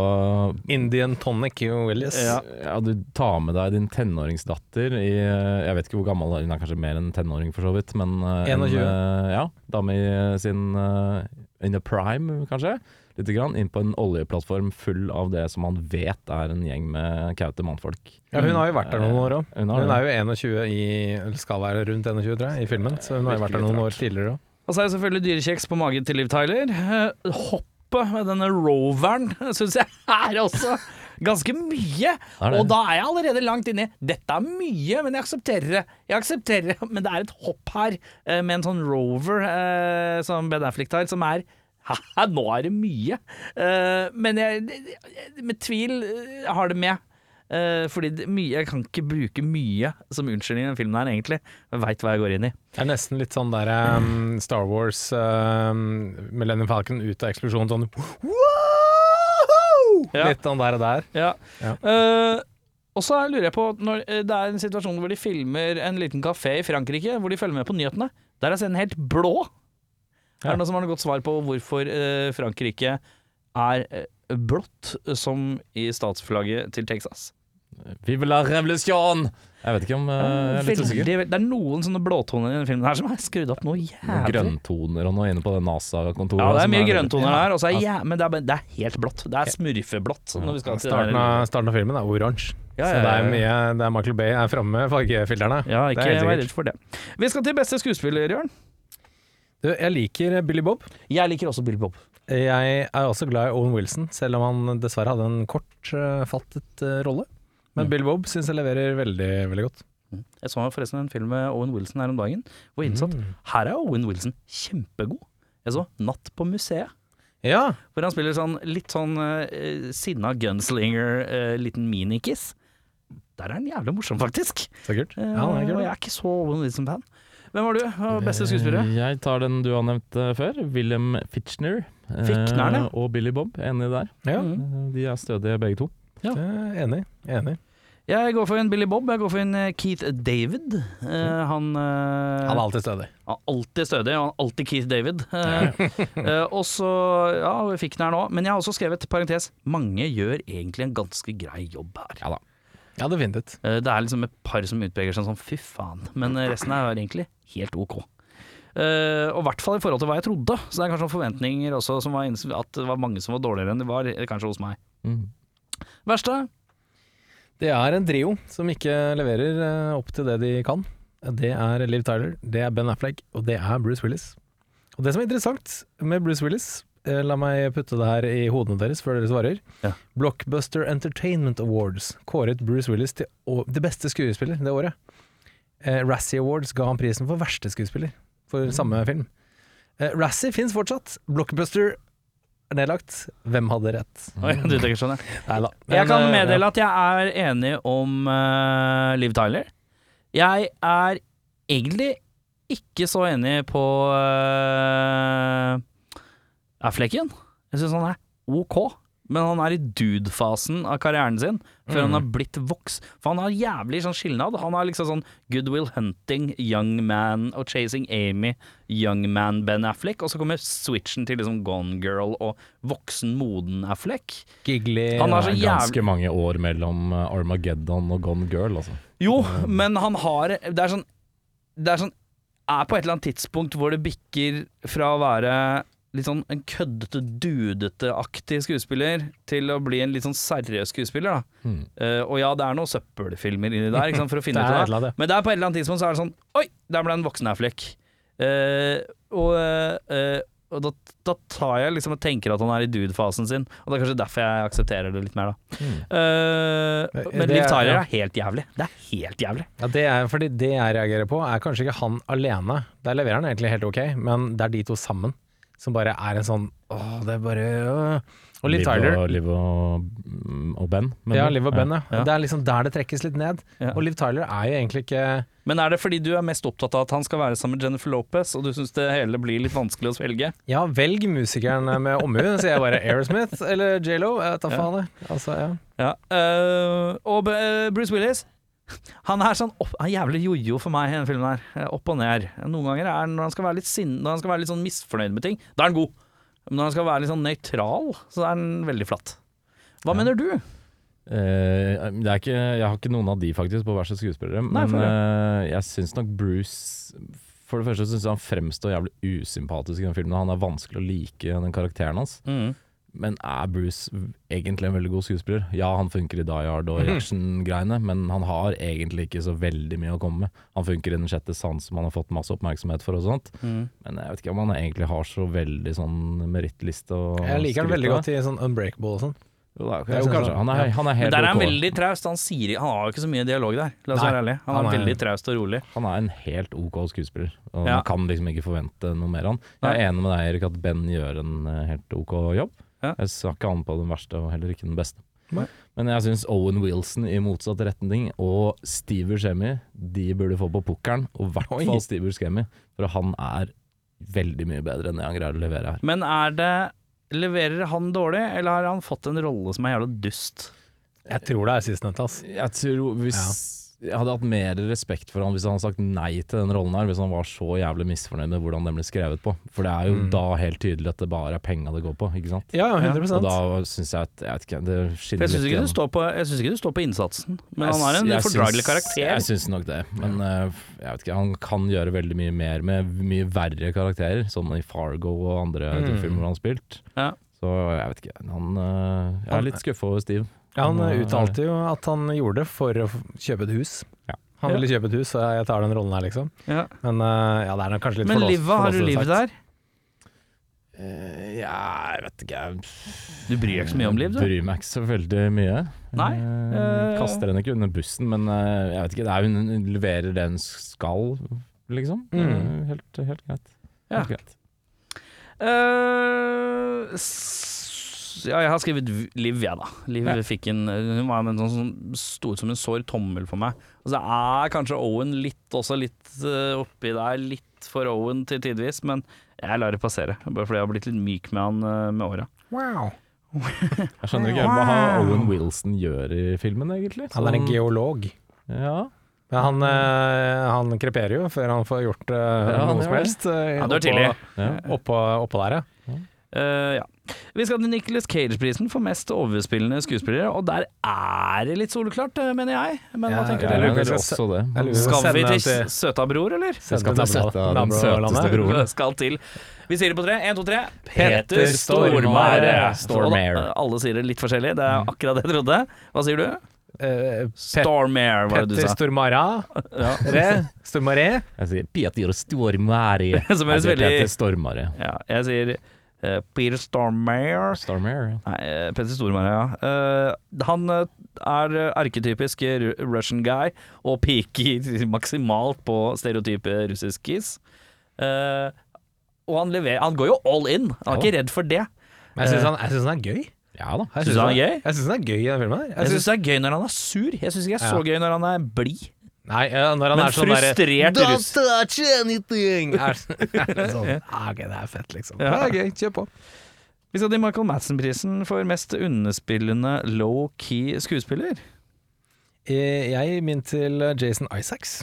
Speaker 2: Indian tonic, jo, Willis.
Speaker 1: Ja.
Speaker 3: ja, du tar med deg din tenåringsdatter i eh, Jeg vet ikke hvor gammel hun er, hun er kanskje mer enn tenåring for så vidt, men eh, en,
Speaker 2: 21.
Speaker 3: eh, ja, dame i eh, sin eh, In the prime, kanskje. Lite grann. Inn på en oljeplattform full av det som man vet er en gjeng med kaute mannfolk.
Speaker 2: Ja, hun har jo vært der noen år òg.
Speaker 3: Hun har
Speaker 2: Hun
Speaker 3: det.
Speaker 2: er jo 21 i Eller skal være rundt 21, tror jeg, i filmen. Så hun har jo vært der noen år tidligere òg.
Speaker 1: og så er det selvfølgelig dyrekjeks på magen til Liv Tyler. Eh, hoppet med denne roveren syns jeg er også ganske mye.
Speaker 3: er det.
Speaker 1: Og da er jeg allerede langt inni. Dette er mye, men jeg aksepterer det. Jeg aksepterer det, Men det er et hopp her eh, med en sånn rover eh, som Ben Affleck tar, som er Haha, nå er det mye. Eh, men jeg, med tvil eh, har det med. Eh, fordi det, mye, jeg kan ikke bruke mye som unnskyldning i den filmen her, egentlig. Jeg veit hva jeg går inn i.
Speaker 2: Det er nesten litt sånn der um, Star Wars um, Millennium Falcon ut av eksplosjonen sånn «Wow!»
Speaker 1: Ja.
Speaker 2: Litt sånn der og der.
Speaker 1: Ja.
Speaker 2: Ja.
Speaker 1: Eh, og så lurer jeg på, når eh, det er en situasjon hvor de filmer en liten kafé i Frankrike, hvor de følger med på nyhetene, der er scenen helt blå. Er
Speaker 2: Ja.
Speaker 1: det noen som har noe godt svar på hvorfor eh, Frankrike er eh, blått som i statsflagget til Texas?
Speaker 3: Vive la revolusjon! Jeg vet ikke om eh, Jeg er litt
Speaker 1: Veldig,
Speaker 3: usikker.
Speaker 1: vel- det er noen sånne blåtoner i denne filmen her som er skrudd opp noe
Speaker 3: Noen
Speaker 1: jævlig.
Speaker 3: Grønntoner og noe inne på det NASA-kontoret.
Speaker 1: Ja, det
Speaker 3: som
Speaker 1: er mye
Speaker 3: litt-
Speaker 1: grønntoner
Speaker 3: Ja.
Speaker 1: der, og så er jæ- men det er, bare- det er helt blått. Det er smurfeblått. Når vi skal til
Speaker 2: Starten av, starten av filmen er oransje.
Speaker 1: Ja,
Speaker 2: Så
Speaker 1: ja,
Speaker 2: det
Speaker 1: ja,
Speaker 2: er
Speaker 1: ja.
Speaker 2: mye det er Michael Bay er framme med fargefilterne.
Speaker 1: Ja,
Speaker 2: Det er
Speaker 1: ikke vær
Speaker 2: helt sikkert.
Speaker 1: redd for det. Vi skal til beste skuespiller, Jørn.
Speaker 2: Du, jeg liker Billy Bob.
Speaker 1: Jeg liker også Bill Bob.
Speaker 2: Jeg er også glad i Owen Wilson, selv om han dessverre hadde en kortfattet eh, rolle. Men Billy Bob syns jeg leverer veldig, veldig godt.
Speaker 1: Mm. Jeg så forresten en film med Owen Wilson her om dagen, hvor
Speaker 2: Mm.
Speaker 1: jeg innså at her er Owen Wilson kjempegod. Jeg så 'Natt på museet',
Speaker 2: Ja,
Speaker 1: hvor han spiller sånn litt sånn eh, sinna gunslinger, eh, liten minikiss. Der er han jævlig morsom, faktisk.
Speaker 2: så kult.
Speaker 1: Eh,
Speaker 2: Ja, han er
Speaker 1: og jeg
Speaker 2: kul.
Speaker 1: er ikke så Owen Wilson-fan. Hvem var du? Hva var Beste skuespiller?
Speaker 3: Eh, Jeg tar den du har nevnt eh, før. William Fitchner. eh,
Speaker 1: Fichtner, ja.
Speaker 3: Og Billy Bob. Enig der.
Speaker 2: Ja,
Speaker 1: Mm.
Speaker 3: Eh, De er stødige begge to.
Speaker 2: det er enig. Enig.
Speaker 1: Jeg går for en Billy Bob. Jeg går for en eh, Keith David. Eh, han, eh,
Speaker 2: Han er alltid stødig.
Speaker 1: han er alltid stødig, og han er alltid Keith David. Eh, eh, og så Ja, vi fikk den her nå. Men jeg har også skrevet parentes mange gjør egentlig en ganske grei jobb her.
Speaker 3: Ja da.
Speaker 2: Ja, definitivt.
Speaker 1: Eh, det er liksom et par som utpeker seg sånn fy faen, men eh, resten er egentlig helt ok. Eh, og i hvert fall i forhold til hva jeg trodde. Så det er kanskje noen forventninger også som var inns- at det var mange som var dårligere enn de var, eh, kanskje hos meg.
Speaker 3: Mm.
Speaker 1: Verste?
Speaker 2: Det er en trio som ikke leverer eh, opp til det de kan. Det er Liv Tyler, det er Ben Affleck, og det er Bruce Willis. Og det som er interessant med Bruce Willis, eh, la meg putte det her i hodene deres før dere svarer.
Speaker 1: Ja.
Speaker 2: Blockbuster Entertainment Awards kåret Bruce Willis til å- det beste skuespiller det året. Eh, Razzie Awards ga han prisen for verste skuespiller for
Speaker 1: Mm.
Speaker 2: samme film. Eh, Razzie fins fortsatt. Blockbuster er nedlagt. Hvem hadde rett?
Speaker 1: Oi, du tenker sånn, ja.
Speaker 2: Nei da.
Speaker 1: Jeg kan
Speaker 2: Men, eh,
Speaker 1: meddele at jeg er enig om eh, Liv Tyler. Jeg er egentlig ikke så enig på uh, Afflecken. Jeg syns han er ok, men han er i dude-fasen av karrieren sin før
Speaker 2: Mm.
Speaker 1: han har blitt voks. For han har jævlig sånn skilnad. Han har liksom sånn Goodwill Hunting, Young Man og Chasing Amy, Young Man Ben Affleck, og så kommer switchen til liksom Gone Girl og voksen, moden Affleck.
Speaker 2: Giggly
Speaker 1: Han har så
Speaker 3: Det er
Speaker 1: jævlig
Speaker 3: ganske mange år mellom eh, Armageddon og Gone Girl, altså.
Speaker 1: Jo, men han har Det er sånn Det er sånn Er på et eller annet tidspunkt hvor det bikker fra å være litt sånn en køddete, dudete-aktig skuespiller til å bli en litt sånn seriøs skuespiller, da.
Speaker 3: Mm.
Speaker 1: Eh, og ja, det er noen søppelfilmer inni der, ikke sant, for å finne
Speaker 2: Det
Speaker 1: ut
Speaker 2: er
Speaker 1: av
Speaker 2: et eller
Speaker 1: det.
Speaker 2: annet,
Speaker 1: Men det er på et eller annet tidspunkt så er det sånn Oi, der ble en voksen Affleck. Eh, og eh, og da, da tar jeg liksom og tenker at han er i dude-fasen sin, og det er kanskje derfor jeg aksepterer det litt mer, da. Eh,
Speaker 2: Det-
Speaker 1: men
Speaker 2: Mm. det
Speaker 1: Liv
Speaker 2: er-
Speaker 1: Tyler
Speaker 2: ja.
Speaker 1: er helt jævlig. Det er helt jævlig.
Speaker 2: Ja, det er fordi det jeg reagerer på, er kanskje ikke han alene. Der leverer han egentlig helt ok, men det er de to sammen som bare er en sånn Åh, det er bare øh. Og Liv Tyler.
Speaker 3: Og, Liv og, mm, og Ben. mener
Speaker 2: Ja,
Speaker 3: du?
Speaker 2: Liv og Ben, ja.
Speaker 1: Ja.
Speaker 2: Det er liksom der det trekkes litt ned.
Speaker 1: Ja.
Speaker 2: Og Liv Tyler er jo egentlig ikke
Speaker 1: Men er det fordi du er mest opptatt av at han skal være sammen med Jennifer Lopez, og du syns det hele blir litt vanskelig å svelge?
Speaker 2: Ja, velg musikeren med omhu, sier jeg bare. Aerosmith eller J.Lo? Jeg vet da
Speaker 1: Ja.
Speaker 2: faen, jeg. Altså, ja.
Speaker 1: Ja. øh, og B- øh, Bruce Willis han er sånn opp, han er jævlig jojo for meg i denne filmen. her Eh, Opp og ned. Noen ganger er han, når han skal være litt sinn, Når han skal være litt sånn misfornøyd med ting, da er han god. Men når han skal være litt sånn nøytral, så er han veldig flatt. Hva mener du?
Speaker 3: Eh, det er ikke, jeg har ikke noen av de faktisk på hver sin skuespillere,
Speaker 1: Nei,
Speaker 3: men
Speaker 1: for det.
Speaker 3: eh, jeg syns nok Bruce For det første syns jeg han fremstår jævlig usympatisk i den filmen. og Han er vanskelig å like den karakteren hans. Men er Bruce egentlig en veldig god skuespiller? Ja, han funker i Die Hard og
Speaker 2: Mhm.
Speaker 3: i action-greiene, men han har egentlig ikke så veldig mye å komme med. Han funker i Den sjette sans, som han har fått masse oppmerksomhet for og sånt.
Speaker 2: Mhm.
Speaker 3: Men jeg vet ikke om han egentlig har så veldig sånn merittliste og
Speaker 2: Jeg liker han veldig godt i sånn Unbreakable og sånn.
Speaker 3: Det er jo kanskje. Han er, han er
Speaker 1: Men
Speaker 3: helt
Speaker 1: der er han
Speaker 3: ok.
Speaker 1: veldig traust. Han, sier, han har jo ikke så mye dialog der. La oss
Speaker 2: Nei,
Speaker 1: være ærlig. Han,
Speaker 2: han
Speaker 1: er,
Speaker 2: er-
Speaker 1: veldig traust og rolig.
Speaker 3: Han er en helt ok skuespiller, og
Speaker 1: Ja.
Speaker 3: man kan liksom ikke forvente noe mer av han. Jeg er enig med deg, Erik, at Ben gjør en eh, helt ok jobb.
Speaker 1: Ja.
Speaker 3: Jeg sa ikke han på den verste, og heller ikke den beste.
Speaker 2: Nei.
Speaker 3: Men jeg syns Owen Wilson i motsatt retning og Steve Buscemi, de burde få på pukkelen. Og i hvert
Speaker 2: Oi.
Speaker 3: fall Steve Buscemi, for han er veldig mye bedre enn det han greier å levere her.
Speaker 1: Men er det Leverer han dårlig, eller har han fått en rolle som er jævla dust?
Speaker 2: Jeg tror det er sistnevnte, ass.
Speaker 3: Jeg tror hvis Jeg hadde hatt mer respekt for han hvis han hadde sagt nei til den rollen her, hvis han var så jævlig misfornøyd med hvordan den ble skrevet på. For det er jo da helt tydelig at det bare er penga det går på, ikke sant.
Speaker 2: Ja, ja, 100
Speaker 3: Og da syns jeg at jeg vet ikke, det
Speaker 1: For
Speaker 3: skinner
Speaker 1: jeg syns ikke,
Speaker 3: gjennom.
Speaker 1: du står på- jeg synes ikke du står på innsatsen, men han har en
Speaker 3: Jeg syns-
Speaker 1: fordragelig karakter.
Speaker 3: Jeg syns nok det, men eh, jeg vet ikke, han kan gjøre veldig mye mer med mye verre karakterer, som i Fargo og andre filmer han har spilt.
Speaker 1: Ja.
Speaker 3: Så jeg vet ikke, han eh, Jeg
Speaker 2: Han-
Speaker 3: er litt skuffa over Steve.
Speaker 2: Ja, han
Speaker 3: Han, eh,
Speaker 2: uttalte jo at han gjorde det for å f- kjøpe et hus.
Speaker 3: Ja.
Speaker 2: Han ville kjøpe et hus, så jeg tar den rollen her, liksom.
Speaker 1: Ja.
Speaker 2: Men eh, ja, det er nok kanskje litt
Speaker 1: Men
Speaker 2: forlåst-
Speaker 1: Liva, har du
Speaker 2: forlåsende
Speaker 1: liv der?
Speaker 2: sagt.
Speaker 3: Eh, ja, jeg vet ikke. Jeg
Speaker 1: Du bryr deg ikke så mye om liv, du.
Speaker 3: bryr meg ikke så veldig mye.
Speaker 1: Nei,
Speaker 3: Eh,
Speaker 1: eh,
Speaker 3: kaster henne ikke under bussen, men eh, jeg vet ikke, det er, hun leverer det hun skal, liksom.
Speaker 2: Mm.
Speaker 3: Eh, helt, helt greit.
Speaker 1: Ja.
Speaker 3: Helt greit.
Speaker 1: Eh, s- ja, jeg har skrevet v- Liv, jeg, da. Liv fikk en Hun var med en sånn, sånn sto ut som en sår tommel for meg. Og så er kanskje Owen litt også litt eh, oppi der, litt for Owen til tidvis, men jeg lar det passere. Bare fordi jeg har blitt litt myk med han eh, med åra.
Speaker 2: Wow.
Speaker 3: Jeg skjønner ikke helt hva Owen Wilson gjør i filmen, egentlig.
Speaker 2: Han er en
Speaker 3: Sånn-
Speaker 2: geolog.
Speaker 3: Ja.
Speaker 2: Ja, han, eh, han kreperer jo før han får gjort eh,
Speaker 3: han
Speaker 2: noe
Speaker 3: gjør
Speaker 2: som
Speaker 3: det.
Speaker 2: helst. eh,
Speaker 1: Ja, det var
Speaker 2: oppå-
Speaker 1: tidlig.
Speaker 3: ja.
Speaker 2: Oppå, oppå der, ja.
Speaker 1: Eh, ja. Vi skal til Nicholas Cage-prisen for mest overspillende skuespillere, og der er det litt soleklart, eh, mener jeg. Men hva
Speaker 2: Ja,
Speaker 1: tenker
Speaker 2: ja.
Speaker 1: dere?
Speaker 2: lurer på om
Speaker 3: Jeg mener
Speaker 2: jeg
Speaker 3: også
Speaker 2: skal
Speaker 3: det.
Speaker 2: jeg lurer på om jeg
Speaker 1: Skal vi
Speaker 2: sende den
Speaker 1: til søta bror, eller?
Speaker 2: sende
Speaker 3: skal
Speaker 2: den
Speaker 3: til søta- den
Speaker 2: nabolandet.
Speaker 3: søteste broren.
Speaker 1: Vi skal til Vi sier det på tre. Én, to, tre.
Speaker 2: Peter Stormare.
Speaker 1: Og da- Alle sier det litt forskjellig. Det er akkurat det jeg trodde. Hva sier du?
Speaker 2: Eh, Pet
Speaker 1: Stormare, var det du
Speaker 2: Petter
Speaker 1: sa.
Speaker 2: Stormara.
Speaker 1: Ja.
Speaker 2: Re, Stormaré.
Speaker 3: Jeg sier Peter Stormare.
Speaker 1: Som høres
Speaker 3: Jeg sier
Speaker 1: veldig-
Speaker 3: Peter Stormare.
Speaker 1: ja. Jeg sier eh, Peter Stormare.
Speaker 3: Stormare.
Speaker 1: Nei, eh, Petter Stormare, ja. Eh, han eh, er eh, arketypisk ru- Russian guy og peaker maksimalt på stereotype russisk kiss. Eh, og han, leverer, han går jo all in, han er
Speaker 3: Ja.
Speaker 1: ikke redd for det.
Speaker 2: Men jeg syns han, jeg synes han er gøy.
Speaker 3: Ja da.
Speaker 2: Jeg
Speaker 1: Eh. Synes du han er gøy?
Speaker 2: Jeg syns han er gøy i den filmen. her. Jeg
Speaker 1: Jeg
Speaker 2: synes,
Speaker 1: syns det er gøy når han er sur, jeg syns ikke det er så gøy når han er blid.
Speaker 2: nei, ja, når han
Speaker 1: Men
Speaker 2: er sånn derre
Speaker 1: frustrert russ.
Speaker 2: touch anything! Er, er det sånn, ah, ok, det er fett, liksom.
Speaker 1: Ja.
Speaker 2: Det er gøy. Kjør på.
Speaker 1: Vi skal til Michael Madsen-prisen for mest underspillende low-key skuespiller.
Speaker 2: Eh, Jeg min til eh, Jason Isaacs,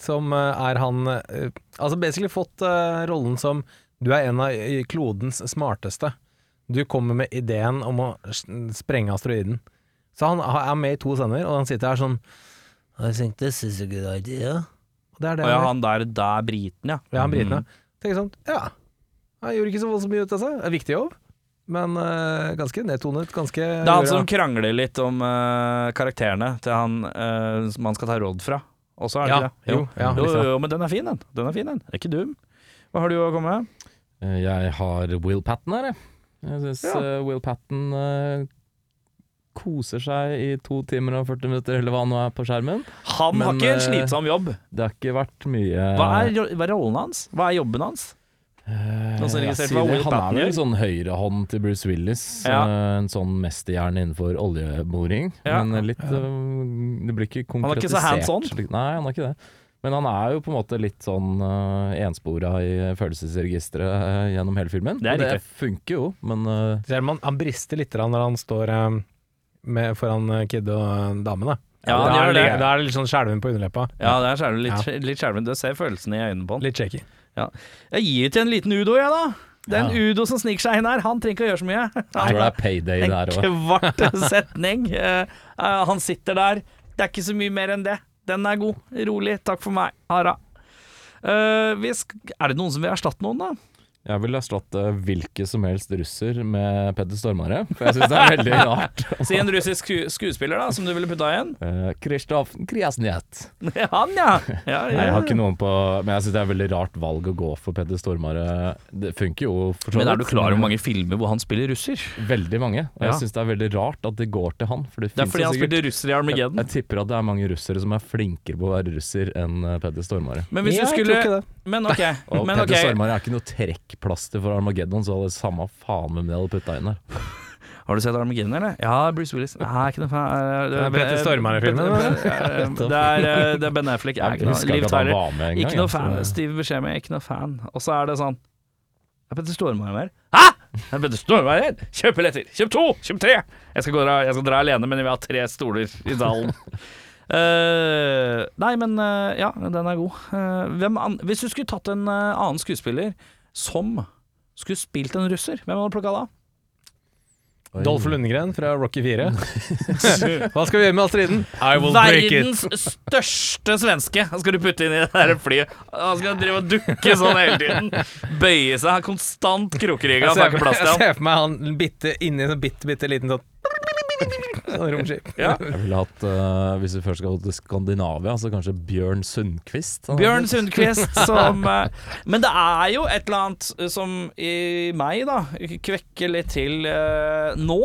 Speaker 2: som eh, er han eh, Altså basically fått eh, rollen som du er en av eh, klodens smarteste. Du kommer med ideen om å s- sprenge asteroiden. Så han ha- er med i to scener, og han sitter her sånn I think this is a good idea. Og det er det
Speaker 1: Og ja,
Speaker 2: han gjør.
Speaker 1: han der, der briten, ja.
Speaker 2: Ja, han briten,
Speaker 1: Mm.
Speaker 2: ja. Tenker sånn Ja, han gjorde ikke så voldsomt mye ut av seg. Det er Viktig jobb, men eh, ganske nedtonet. Ganske
Speaker 1: Det er han som krangler litt om eh, karakterene til han eh, som han skal ta råd fra. Også er det
Speaker 2: Ja,
Speaker 1: ikke det?
Speaker 2: jo, ja,
Speaker 1: jo,
Speaker 2: liksom.
Speaker 1: jo, men den er fin, den. Den er fin, den. Den Er ikke dum. Hva har du å komme med?
Speaker 3: Eh, Jeg har Will Patten her, jeg. Jeg syns
Speaker 1: Ja.
Speaker 3: Will Patten eh, koser seg i to timer og 40 minutter, eller hva han nå er på skjermen.
Speaker 1: Han har
Speaker 3: Men,
Speaker 1: ikke en
Speaker 3: eh,
Speaker 1: slitsom jobb.
Speaker 3: Det har ikke vært mye
Speaker 1: Hva er, ro- hva er rollen hans? Hva er jobben hans?
Speaker 3: Eh,
Speaker 1: Noen som
Speaker 3: jeg
Speaker 1: registrerte
Speaker 3: sier
Speaker 1: hva
Speaker 3: det,
Speaker 1: Will
Speaker 3: Han
Speaker 1: Patton
Speaker 3: er vel
Speaker 1: gjør?
Speaker 3: sånn høyrehånd til Bruce Willis.
Speaker 1: Ja.
Speaker 3: eh, En sånn mesterhjerne innenfor oljeboring.
Speaker 1: Ja.
Speaker 3: Men litt eh, Det blir ikke konkretisert.
Speaker 1: er ikke så hands-on?
Speaker 3: slik- Nei, han er ikke det. Men han er jo på en måte litt sånn uh, enspora i følelsesregisteret eh, gjennom hele filmen.
Speaker 1: Det er
Speaker 3: og det funker jo, men eh,
Speaker 2: Selv om han, han brister litt grann når han står eh, med, foran eh, Kid og eh, damen. Da.
Speaker 1: Ja,
Speaker 2: da,
Speaker 1: han
Speaker 2: er
Speaker 1: gjør
Speaker 2: det,
Speaker 1: det.
Speaker 2: da er det litt sånn skjelven på underleppa.
Speaker 1: Ja, der er du litt, litt skjelven. Du ser følelsene i øynene på han.
Speaker 2: Litt shaky.
Speaker 1: Ja. Jeg gir det til en liten Udo, jeg, da. Det er en Udo som sniker seg inn her. Han trenger ikke å gjøre så mye.
Speaker 3: jeg tror det er payday
Speaker 1: en
Speaker 3: der òg.
Speaker 1: kvart setning. Eh, eh, han sitter der. Det er ikke så mye mer enn det. Den er god. Rolig. Takk for meg. Hara. Eh, vi sk er det noen som vil erstatte noen, da?
Speaker 3: Jeg ville erstatte hvilke som helst russer med Petter Stormare, for jeg syns det er veldig rart.
Speaker 1: Si en russisk sku skuespiller, da, som du ville putta igjen.
Speaker 3: Eh, Kristoff Kriasnjet.
Speaker 1: Han, ja! ja,
Speaker 3: Nei, jeg
Speaker 1: ja.
Speaker 3: har ikke noen på Men jeg syns det er veldig rart valg å gå for Petter Stormare. Det funker jo for så
Speaker 1: Men er
Speaker 3: vidt,
Speaker 1: du klar over hvor mange filmer hvor han spiller russer?
Speaker 3: Veldig mange. Og
Speaker 1: Ja.
Speaker 3: jeg syns det er veldig rart at det går til han. For det,
Speaker 1: Det er
Speaker 3: finnes
Speaker 1: fordi
Speaker 3: jo
Speaker 1: han
Speaker 3: sikkert
Speaker 1: spilte russer i Armageddon.
Speaker 3: jeg tipper at det er mange russere som er flinkere på å være russer enn eh, Petter Stormare.
Speaker 1: Men hvis du
Speaker 2: Jeg tror
Speaker 1: skulle
Speaker 2: ikke det.
Speaker 1: Men ok.
Speaker 3: Og
Speaker 1: Men
Speaker 3: Petter
Speaker 1: ok.
Speaker 3: Stormare er ikke noe trekkplaster for Armageddon, så hadde det samme faen hvem de hadde putta inn der.
Speaker 1: Har du sett Armageddon, eller? Ja, Bruce Willis. Nei, ikke noe fan. Eh,
Speaker 2: Det er Petter Stormare-filmen,
Speaker 1: Det er, eh, det er Ben Affleck. Jeg er
Speaker 3: Jeg
Speaker 1: ikke noe
Speaker 3: husker
Speaker 1: Liv
Speaker 3: ikke at han
Speaker 1: Tyler.
Speaker 3: var med engang.
Speaker 1: Ikke noe fan.
Speaker 3: altså.
Speaker 1: Stiv beskjed med, ikke noe fan. Og så er det sånn Det er Petter Stormare her. Hæ?! Det er Petter Stormare her! Kjøp billetter! Kjøp to! Kjøp tre! Jeg skal, gå, dra- jeg skal dra alene, men vi har tre stoler i salen. Eh, nei, men eh, ja, den er god. Eh, hvem an Hvis du skulle tatt en eh, annen skuespiller som skulle spilt en russer, hvem hadde du plukka da?
Speaker 3: Oi.
Speaker 2: Dolph Lundgren fra Rocky 4. Hva skal vi gjøre med astriden? I
Speaker 1: Verdens største svenske Han skal du putte inn i det der flyet. Han skal drive og dukke sånn hele tiden. Bøye seg, ha konstant krokrygga. Det
Speaker 2: Jeg
Speaker 1: er
Speaker 2: ser,
Speaker 1: ikke plass til
Speaker 2: jeg
Speaker 1: han.
Speaker 2: ser for meg han bitte inni en sånn bitte, bitte liten sånn sånn romskip.
Speaker 1: Ja.
Speaker 3: Jeg ville hatt, eh, hvis vi først skal gå til Skandinavia, så kanskje Bjørn Sundquist. Han er-
Speaker 1: Bjørn Sundquist som eh, Men det er jo et eller annet eh, som i meg, da, kvekker litt til eh, nå.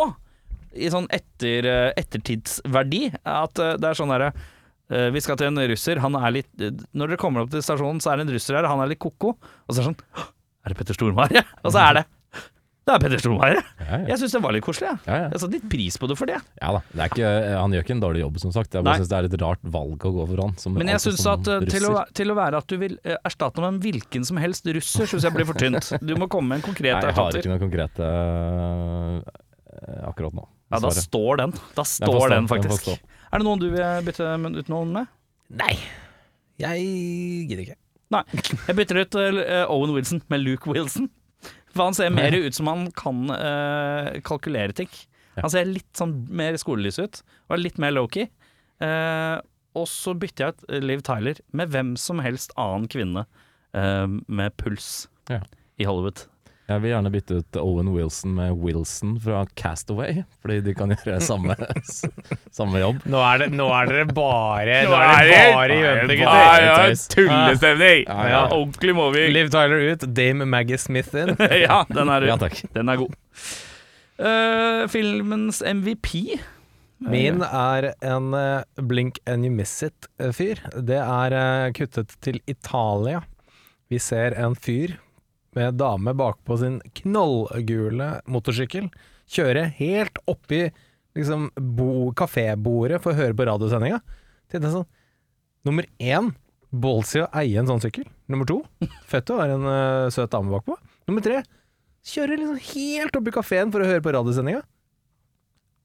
Speaker 1: I sånn etter, eh, ettertidsverdi. At eh, det er sånn derre eh, Vi skal til en russer. Han er litt eh, Når dere kommer opp til stasjonen, så er det en russer her, han er litt ko-ko. Og så er det sånn «Hå, Er det Petter Stormare? Og så er det Det er Petter Stromheie.
Speaker 3: Ja, ja.
Speaker 1: Jeg syns det var litt koselig. Jeg,
Speaker 3: Ja, ja.
Speaker 1: jeg satte litt pris på det for det.
Speaker 3: ja da. Det er ikke, eh, han gjør ikke en dårlig jobb, som sagt. Jeg
Speaker 1: Nei.
Speaker 3: bare syns det er litt rart valg å gå for han. Som
Speaker 1: Men jeg
Speaker 3: alltid
Speaker 1: syns
Speaker 3: som
Speaker 1: at eh, til å,
Speaker 3: russer.
Speaker 1: til å være at du vil eh, erstatte med en hvilken som helst russer, syns jeg blir for tynt. Du må komme med en konkret
Speaker 3: Nei, jeg har
Speaker 1: erstatter.
Speaker 3: ikke noe konkret eh, akkurat nå.
Speaker 1: Ja, da
Speaker 3: dessverre.
Speaker 1: står den. Da
Speaker 3: får stå,
Speaker 1: står den,
Speaker 3: den får
Speaker 1: faktisk.
Speaker 3: stå.
Speaker 1: Er det noen du vil eh, bytte ut noen med?
Speaker 2: Nei, jeg gidder ikke.
Speaker 1: Nei. Jeg bytter ut eh, Owen Wilson med Luke Wilson. For han ser mer ut som han kan eh, kalkulere ting. Han ser litt sånn mer skolelys ut, og er litt mer lowkey. Eh, og så bytter jeg ut eh, Liv Tyler med hvem som helst annen kvinne eh, med puls
Speaker 3: Ja.
Speaker 1: i Hollywood.
Speaker 3: Jeg vil gjerne bytte ut Owen Wilson med Wilson fra Castaway, fordi de kan gjøre samme, samme jobb.
Speaker 2: Nå er, det, nå er dere bare Nå
Speaker 1: er
Speaker 2: er
Speaker 1: det-
Speaker 2: dere bare gjønete,
Speaker 3: Nei,
Speaker 2: gutter.
Speaker 3: ja.
Speaker 1: tullestemning!
Speaker 3: Ja, ja.
Speaker 1: Ordentlig moving.
Speaker 2: Liv Tyler ut, Dame Maggie Smith inn.
Speaker 1: ja, den er,
Speaker 3: Ja, takk.
Speaker 1: den er god. Eh, filmens MVP
Speaker 2: Min er en eh, blink and you miss it-fyr. Det er eh, kuttet til Italia. Vi ser en fyr med dame bakpå sin knallgule motorsykkel kjøre helt oppi liksom, bo- kafébordet for å høre på radiosendinga. Tenkte jeg sånn Nummer én, ballsy å eie en sånn sykkel. Nummer to, fett å være en eh, søt dame bakpå. Nummer tre, kjøre liksom helt oppi kafeen for å høre på radiosendinga.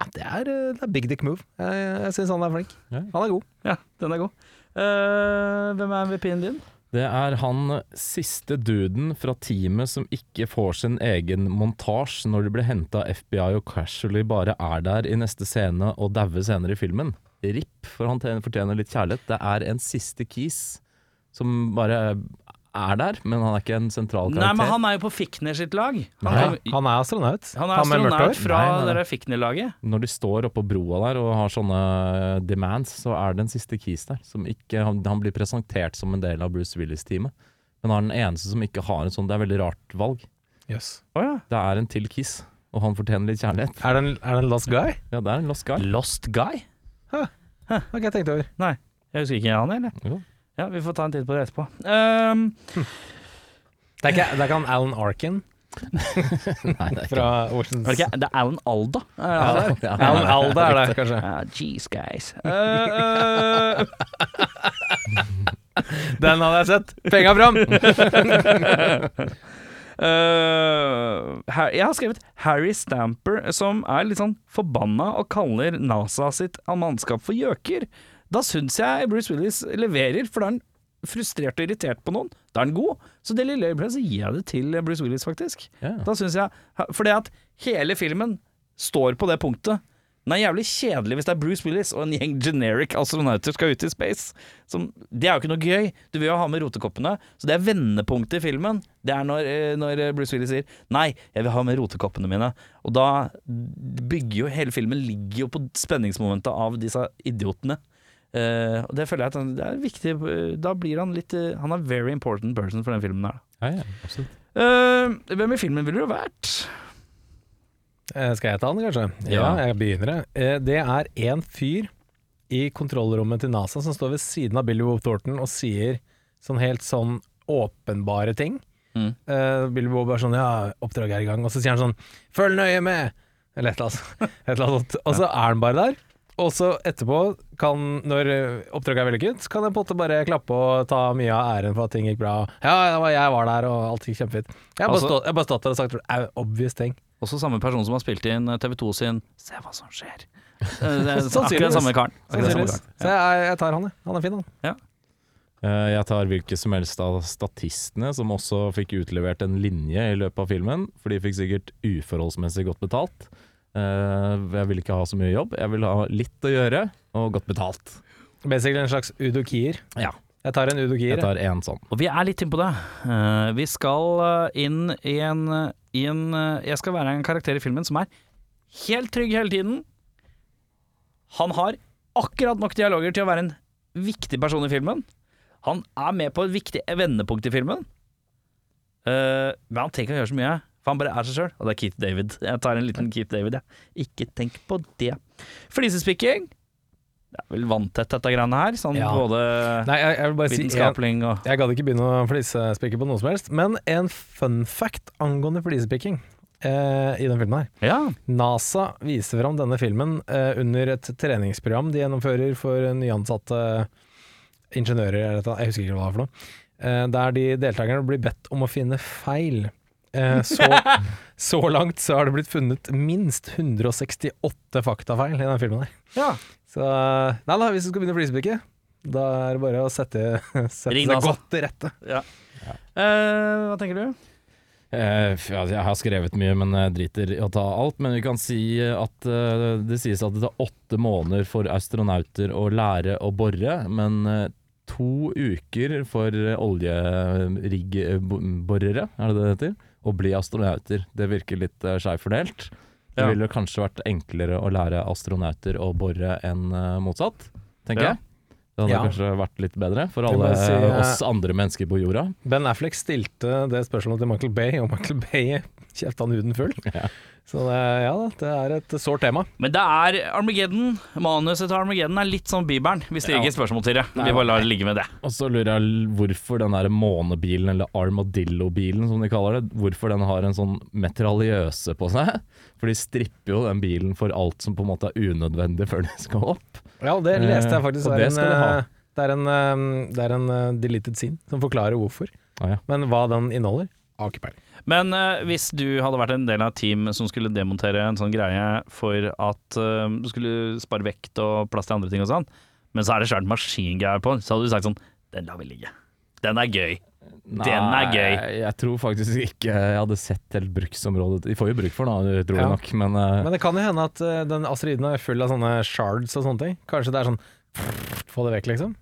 Speaker 2: Ja, Det er, eh, det er big dick move. Jeg, jeg syns han er flink.
Speaker 3: Ja.
Speaker 2: Han er god.
Speaker 1: Ja, den er god. Eh, hvem er MVP-en din?
Speaker 3: Det er han siste duden fra teamet som ikke får sin egen montasje når de blir henta av FBI og casually bare er der i neste scene og dauer senere i filmen. RIP, for han tjener- fortjener litt kjærlighet. Det er en siste kis som bare er der, men han er ikke en sentral karakter.
Speaker 1: Nei, men han er jo på Fikner sitt lag. Han,
Speaker 3: Nei,
Speaker 1: kom-
Speaker 2: Han er astronaut.
Speaker 1: han er
Speaker 2: Han med mørkt hår.
Speaker 1: astronaut fra
Speaker 3: Nei, nei, nei.
Speaker 1: det der Fikner-laget.
Speaker 3: Når de står oppå broa der og har sånne eh, demands, så er det en siste kis der. Som ikke, han, han blir presentert som en del av Bruce Willis-teamet. Men han er den eneste som ikke har en sånn Det er veldig rart valg.
Speaker 1: Å ja.
Speaker 3: Det er en til kis, og han fortjener litt kjærlighet.
Speaker 2: Er det en, er det en lost guy?
Speaker 3: Ja, det er en lost guy.
Speaker 1: Lost Guy?
Speaker 2: Har ikke jeg tenkt over.
Speaker 1: Nei, jeg husker ikke han, eller?
Speaker 3: Jo.
Speaker 1: Ja, Vi får ta en titt på det etterpå. Ehm,
Speaker 2: Det er ikke, det er ikke han Alan Arkin
Speaker 3: Nei, det er ikke
Speaker 2: fra Oceans
Speaker 1: var det ikke- det er Alan Alda. Er det han
Speaker 3: Ja,
Speaker 1: der?
Speaker 3: ja,
Speaker 2: Alan
Speaker 3: ja.
Speaker 2: Alda er det, kanskje.
Speaker 1: Ah, jeez, guys. Eh, eh,
Speaker 2: Den hadde jeg sett. Penga fram!
Speaker 1: eh, Har- jeg har skrevet Harry Stamper, som er litt sånn forbanna og kaller NASA sitt mannskap for gjøker. Da syns jeg Bruce Willis leverer, for da er han frustrert og irritert på noen. Da er han god. Så det lille øyeblikket så gir jeg det til Bruce Willis, faktisk.
Speaker 3: Ja.
Speaker 1: Da synes jeg Fordi at hele filmen står på det punktet. Den er jævlig kjedelig hvis det er Bruce Willis og en gjeng generic astronauter skal ut i space. Som, det er jo ikke noe gøy. Du vil jo ha med rotekoppene. Så det er vendepunktet i filmen. Det er når, eh, når Bruce Willis sier 'nei, jeg vil ha med rotekoppene mine'. Og da bygger jo hele filmen Ligger jo på spenningsmomentet av disse idiotene. Eh, og det føler jeg at han, det er viktig. eh, Da blir han litt eh, Han er en very important person for den filmen her.
Speaker 3: Ja, ja, absolutt.
Speaker 1: Eh, hvem i filmen ville du vært?
Speaker 2: Eh, Skal jeg ta den, kanskje? Ja,
Speaker 3: Ja.
Speaker 2: jeg begynner. jeg. Eh, Det er en fyr i kontrollrommet til NASA som står ved siden av Billy Bob Thornton og sier sånn helt sånn åpenbare ting.
Speaker 1: Mm.
Speaker 2: Eh, Billy Bob er sånn Ja, oppdraget er i gang. Og så sier han sånn Følg nøye med! Eller et eller annet. Et eller annet. sånt. Og så er han bare der. Og så etterpå, kan, når eh, oppdraget er vellykket, kan jeg på en måte bare klappe og ta mye av æren for at ting gikk bra. Ja, jeg var- jeg var der, og alt gikk kjempefint. Jeg har bare
Speaker 1: Altså-
Speaker 2: stått- jeg har bare stått der og sagt "Au, obvious ting.
Speaker 1: Også samme person som har spilt inn eh, TV 2 sin 'Se hva som skjer'. Eh, Det er akkurat
Speaker 2: Sannsynligvis.
Speaker 1: den samme karen. Akkurat den samme
Speaker 2: Sannsynligvis.
Speaker 1: karen.
Speaker 2: Så jeg, jeg tar han, jeg. Han er fin, han.
Speaker 3: Eh, Jeg tar hvilke som helst av statistene som også fikk utlevert en linje i løpet av filmen, for de fikk sikkert uforholdsmessig godt betalt. Eh, Jeg vil ikke ha så mye jobb, jeg vil ha litt å gjøre og godt betalt.
Speaker 2: Basically en slags udokier.
Speaker 3: Ja.
Speaker 2: Jeg tar en udokier.
Speaker 3: Jeg tar én sånn.
Speaker 1: Og vi er litt inne på det. Eh, Vi skal eh, inn i en, eh, i en eh, Jeg skal være en karakter i filmen som er helt trygg hele tiden. Han har akkurat nok dialoger til å være en viktig person i filmen. Han er med på et viktig vendepunkt i filmen. Eh, Men han trenger ikke å gjøre så mye, for han bare er seg sjøl. Og det er Keith David. Jeg tar en liten Keith David, jeg. Ikke tenk på det. Flisespikking. Det er vel vanntett, dette greiene her. Sånn
Speaker 2: Ja.
Speaker 1: både
Speaker 2: Nei, jeg, jeg vil bare si en,
Speaker 1: vitenskapling og
Speaker 2: Jeg gadd ikke begynne å flisespikke på noe som helst, men en fun fact angående flisepikking. eh, i den filmen her.
Speaker 1: Ja.
Speaker 2: NASA viser fram denne filmen eh, under et treningsprogram de gjennomfører for nyansatte ingeniører, eller et eller annet, jeg husker ikke hva det var for noe, eh, der de deltakerne blir bedt om å finne feil. Eh, så, så langt så har det blitt funnet minst 168 faktafeil i denne filmen her.
Speaker 1: ja.
Speaker 2: Så eh, nei da, hvis du skal begynne å flisespikke, da er det bare å sette, sette
Speaker 1: Ring
Speaker 2: seg
Speaker 1: NASA.
Speaker 2: godt til rette.
Speaker 1: Eh, hva tenker du?
Speaker 3: Eh, f- ja, jeg har skrevet mye, men jeg driter i å ta alt. Men vi kan si at eh, det sies at det tar åtte måneder for astronauter å lære å bore, men eh, to uker for oljeriggborere, er det det det heter? Å bli astronauter. Det virker litt uh, skeivt fordelt. Det
Speaker 1: Ja.
Speaker 3: ville kanskje vært enklere å lære astronauter å bore enn eh, motsatt, tenker
Speaker 1: Ja.
Speaker 3: jeg. Det hadde
Speaker 2: Ja.
Speaker 3: kanskje vært litt bedre for
Speaker 2: Jeg må
Speaker 3: alle
Speaker 2: si, eh,
Speaker 3: oss andre mennesker på jorda.
Speaker 2: Ben Affleck stilte det spørsmålet til Michael Bay, og Michael Bay kjefta han huden full.
Speaker 3: Ja.
Speaker 2: Så det, ja da, det er et sårt tema.
Speaker 1: Men det er Armageddon. Manuset til Armageddon er litt som Bibelen. Vi stiller ikke spørsmål til det. Vi bare lar det ligge med det.
Speaker 3: Og så lurer jeg l- hvorfor den der månebilen, eller armadillo-bilen som de kaller det, hvorfor den har en sånn metraljøse på seg. For de stripper jo den bilen for alt som på en måte er unødvendig før de skal opp.
Speaker 2: Ja, og det
Speaker 3: Eh,
Speaker 2: leste jeg faktisk.
Speaker 3: og
Speaker 2: Det
Speaker 3: det
Speaker 2: er,
Speaker 3: skal vi ha.
Speaker 2: en, eh, det er en, eh, det er en eh, deleted scene som forklarer hvorfor.
Speaker 3: Å ja.
Speaker 2: Men hva den inneholder, har ikke peiling.
Speaker 1: Men eh, hvis du hadde vært en del av et team som skulle demontere en sånn greie for at eh, du skulle spare vekt og plass til andre ting og sånn, men så er det svært maskingevær på den, så hadde du sagt sånn Den lar vi ligge. Den er gøy. Den er
Speaker 3: Nei,
Speaker 1: gøy.
Speaker 3: Jeg, jeg tror faktisk ikke jeg hadde sett helt bruksområdet. De får jo bruk for den, da, tror jeg
Speaker 2: Ja.
Speaker 3: nok, men, eh,
Speaker 2: Men det kan jo hende at eh, den asteroiden er full av sånne shards og sånne ting. Kanskje det er sånn få det vekk, liksom.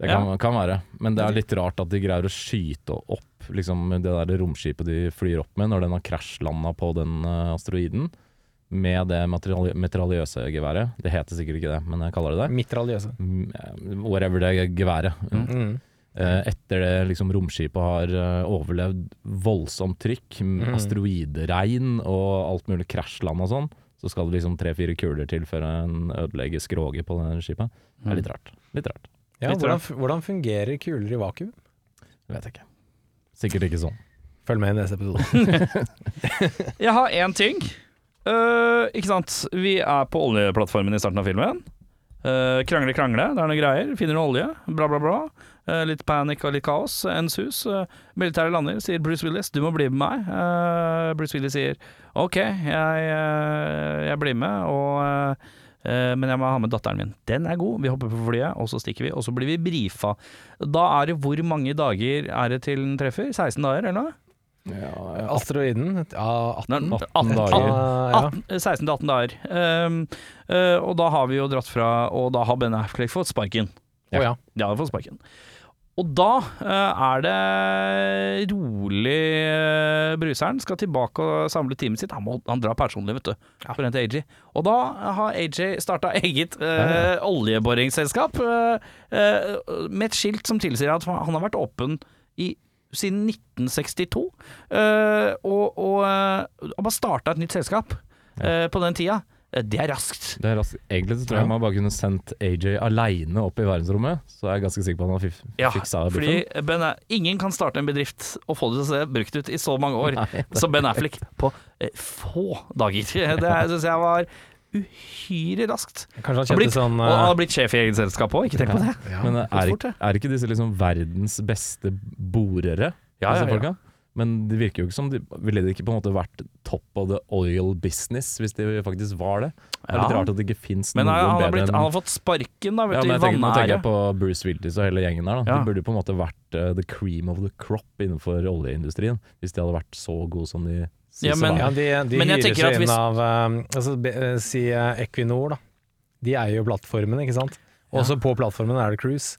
Speaker 3: det kan, kan være. Men det er litt rart at de greier å skyte opp liksom, det der romskipet de flyr opp med, når den har krasjlanda på den eh, asteroiden. Med det materiali- metraljøse geværet. Det heter sikkert ikke det, men jeg kaller det det.
Speaker 2: Mitraljøse.
Speaker 3: Mm, whatever det geværet.
Speaker 2: Mm.
Speaker 3: Eh, Etter det liksom, romskipet har eh, overlevd voldsomt trykk, mm. asteroideregn og alt mulig krasjland og sånn, så skal det liksom tre-fire kuler til før en ødelegger skroget på det skipet. Det er litt rart. Litt rart.
Speaker 2: Ja,
Speaker 1: Litt
Speaker 2: hvordan,
Speaker 1: rart.
Speaker 2: hvordan fungerer kuler i vakuum?
Speaker 3: Vet jeg ikke. Sikkert ikke sånn.
Speaker 2: Følg med i neste episode.
Speaker 1: Jeg har én ting. Eh, ikke sant. Vi er på oljeplattformen i starten av filmen. Eh, krangle, krangle. Det er noe greier. Finner noe olje. Bla, bla, bla. Eh, litt panikk og litt kaos. Ens hus. Uh, Militæret lander, sier Bruce Willis 'du må bli med meg'. Eh, Bruce Willis sier 'ok, jeg, eh, jeg blir med', og, eh, eh, men jeg må ha med datteren min. Den er god. Vi hopper på flyet, og så stikker vi. Og så blir vi brifa. Da er det hvor mange dager er det til den treffer? 16 dager, eller noe?
Speaker 2: Asteroiden? Ja, 18.
Speaker 1: Nei,
Speaker 3: 18 dager.
Speaker 2: Ah, ja.
Speaker 1: 18, 16 eh, til 18 dager. Ehm, eh, og da har vi jo dratt fra, og da har Ben Affleck fått sparken.
Speaker 2: Å ja.
Speaker 1: De har fått sparken. Og da eh, er det rolig eh, Bruseren skal tilbake og samle teamet sitt. Han, må, han drar personlig, vet du. For å hente AJ. Og da har AJ starta eget eh, oljeboringsselskap eh, eh, med et skilt som tilsier at han har vært åpen i siden 1962. eh, og og eh, han bare starta et nytt selskap eh, på den tida. Eh, Det er raskt.
Speaker 3: Det er raskt. Egentlig så tror jeg man bare kunne sendt AJ aleine opp i verdensrommet, så jeg er ganske sikker på at han har fif-
Speaker 1: Ja,
Speaker 3: fiksa liksom?
Speaker 1: fordi
Speaker 3: buffen.
Speaker 1: ben, ingen kan starte en bedrift og få det til å se brukt ut i så mange år som Ben Affleck på eh, få dager. Det syns jeg var uhyre raskt.
Speaker 2: Kanskje han
Speaker 1: Han har
Speaker 2: kjente
Speaker 1: blitt,
Speaker 2: sånn
Speaker 1: og han
Speaker 2: eh,
Speaker 1: har blitt sjef i eget selskap òg, ikke tenk på det.
Speaker 3: Men eh, er,
Speaker 1: fort,
Speaker 3: ikke- er ikke disse liksom verdens beste borere?
Speaker 1: Ja, ja,
Speaker 3: disse
Speaker 1: ja.
Speaker 3: folka? Men det virker jo ikke som de Ville det ikke på en måte vært top of the oil business hvis de faktisk var det? Det er litt
Speaker 1: Ja.
Speaker 3: rart at det ikke fins noen
Speaker 1: Men han, han, har
Speaker 3: bedre
Speaker 1: blitt,
Speaker 3: enn
Speaker 1: han har fått sparken, da,
Speaker 3: ja,
Speaker 1: vet
Speaker 3: men
Speaker 1: du, i
Speaker 3: jeg tenker, Nå tenker jeg
Speaker 1: vanære.
Speaker 3: på Bruce Willis og hele gjengen der. Da.
Speaker 1: Ja.
Speaker 3: De burde på en måte vært eh, the cream of the crop innenfor oljeindustrien, hvis de hadde vært så gode som de sies
Speaker 1: Ja,
Speaker 3: å
Speaker 1: men-
Speaker 2: Ja,
Speaker 3: være.
Speaker 2: de, de
Speaker 1: Men jeg
Speaker 2: hyrer
Speaker 1: tenker at
Speaker 2: seg inn
Speaker 1: hvis-
Speaker 2: av eh, altså, be, eh, Si eh, Equinor, da. De eier jo plattformen, ikke sant. Også på plattformen er det cruise.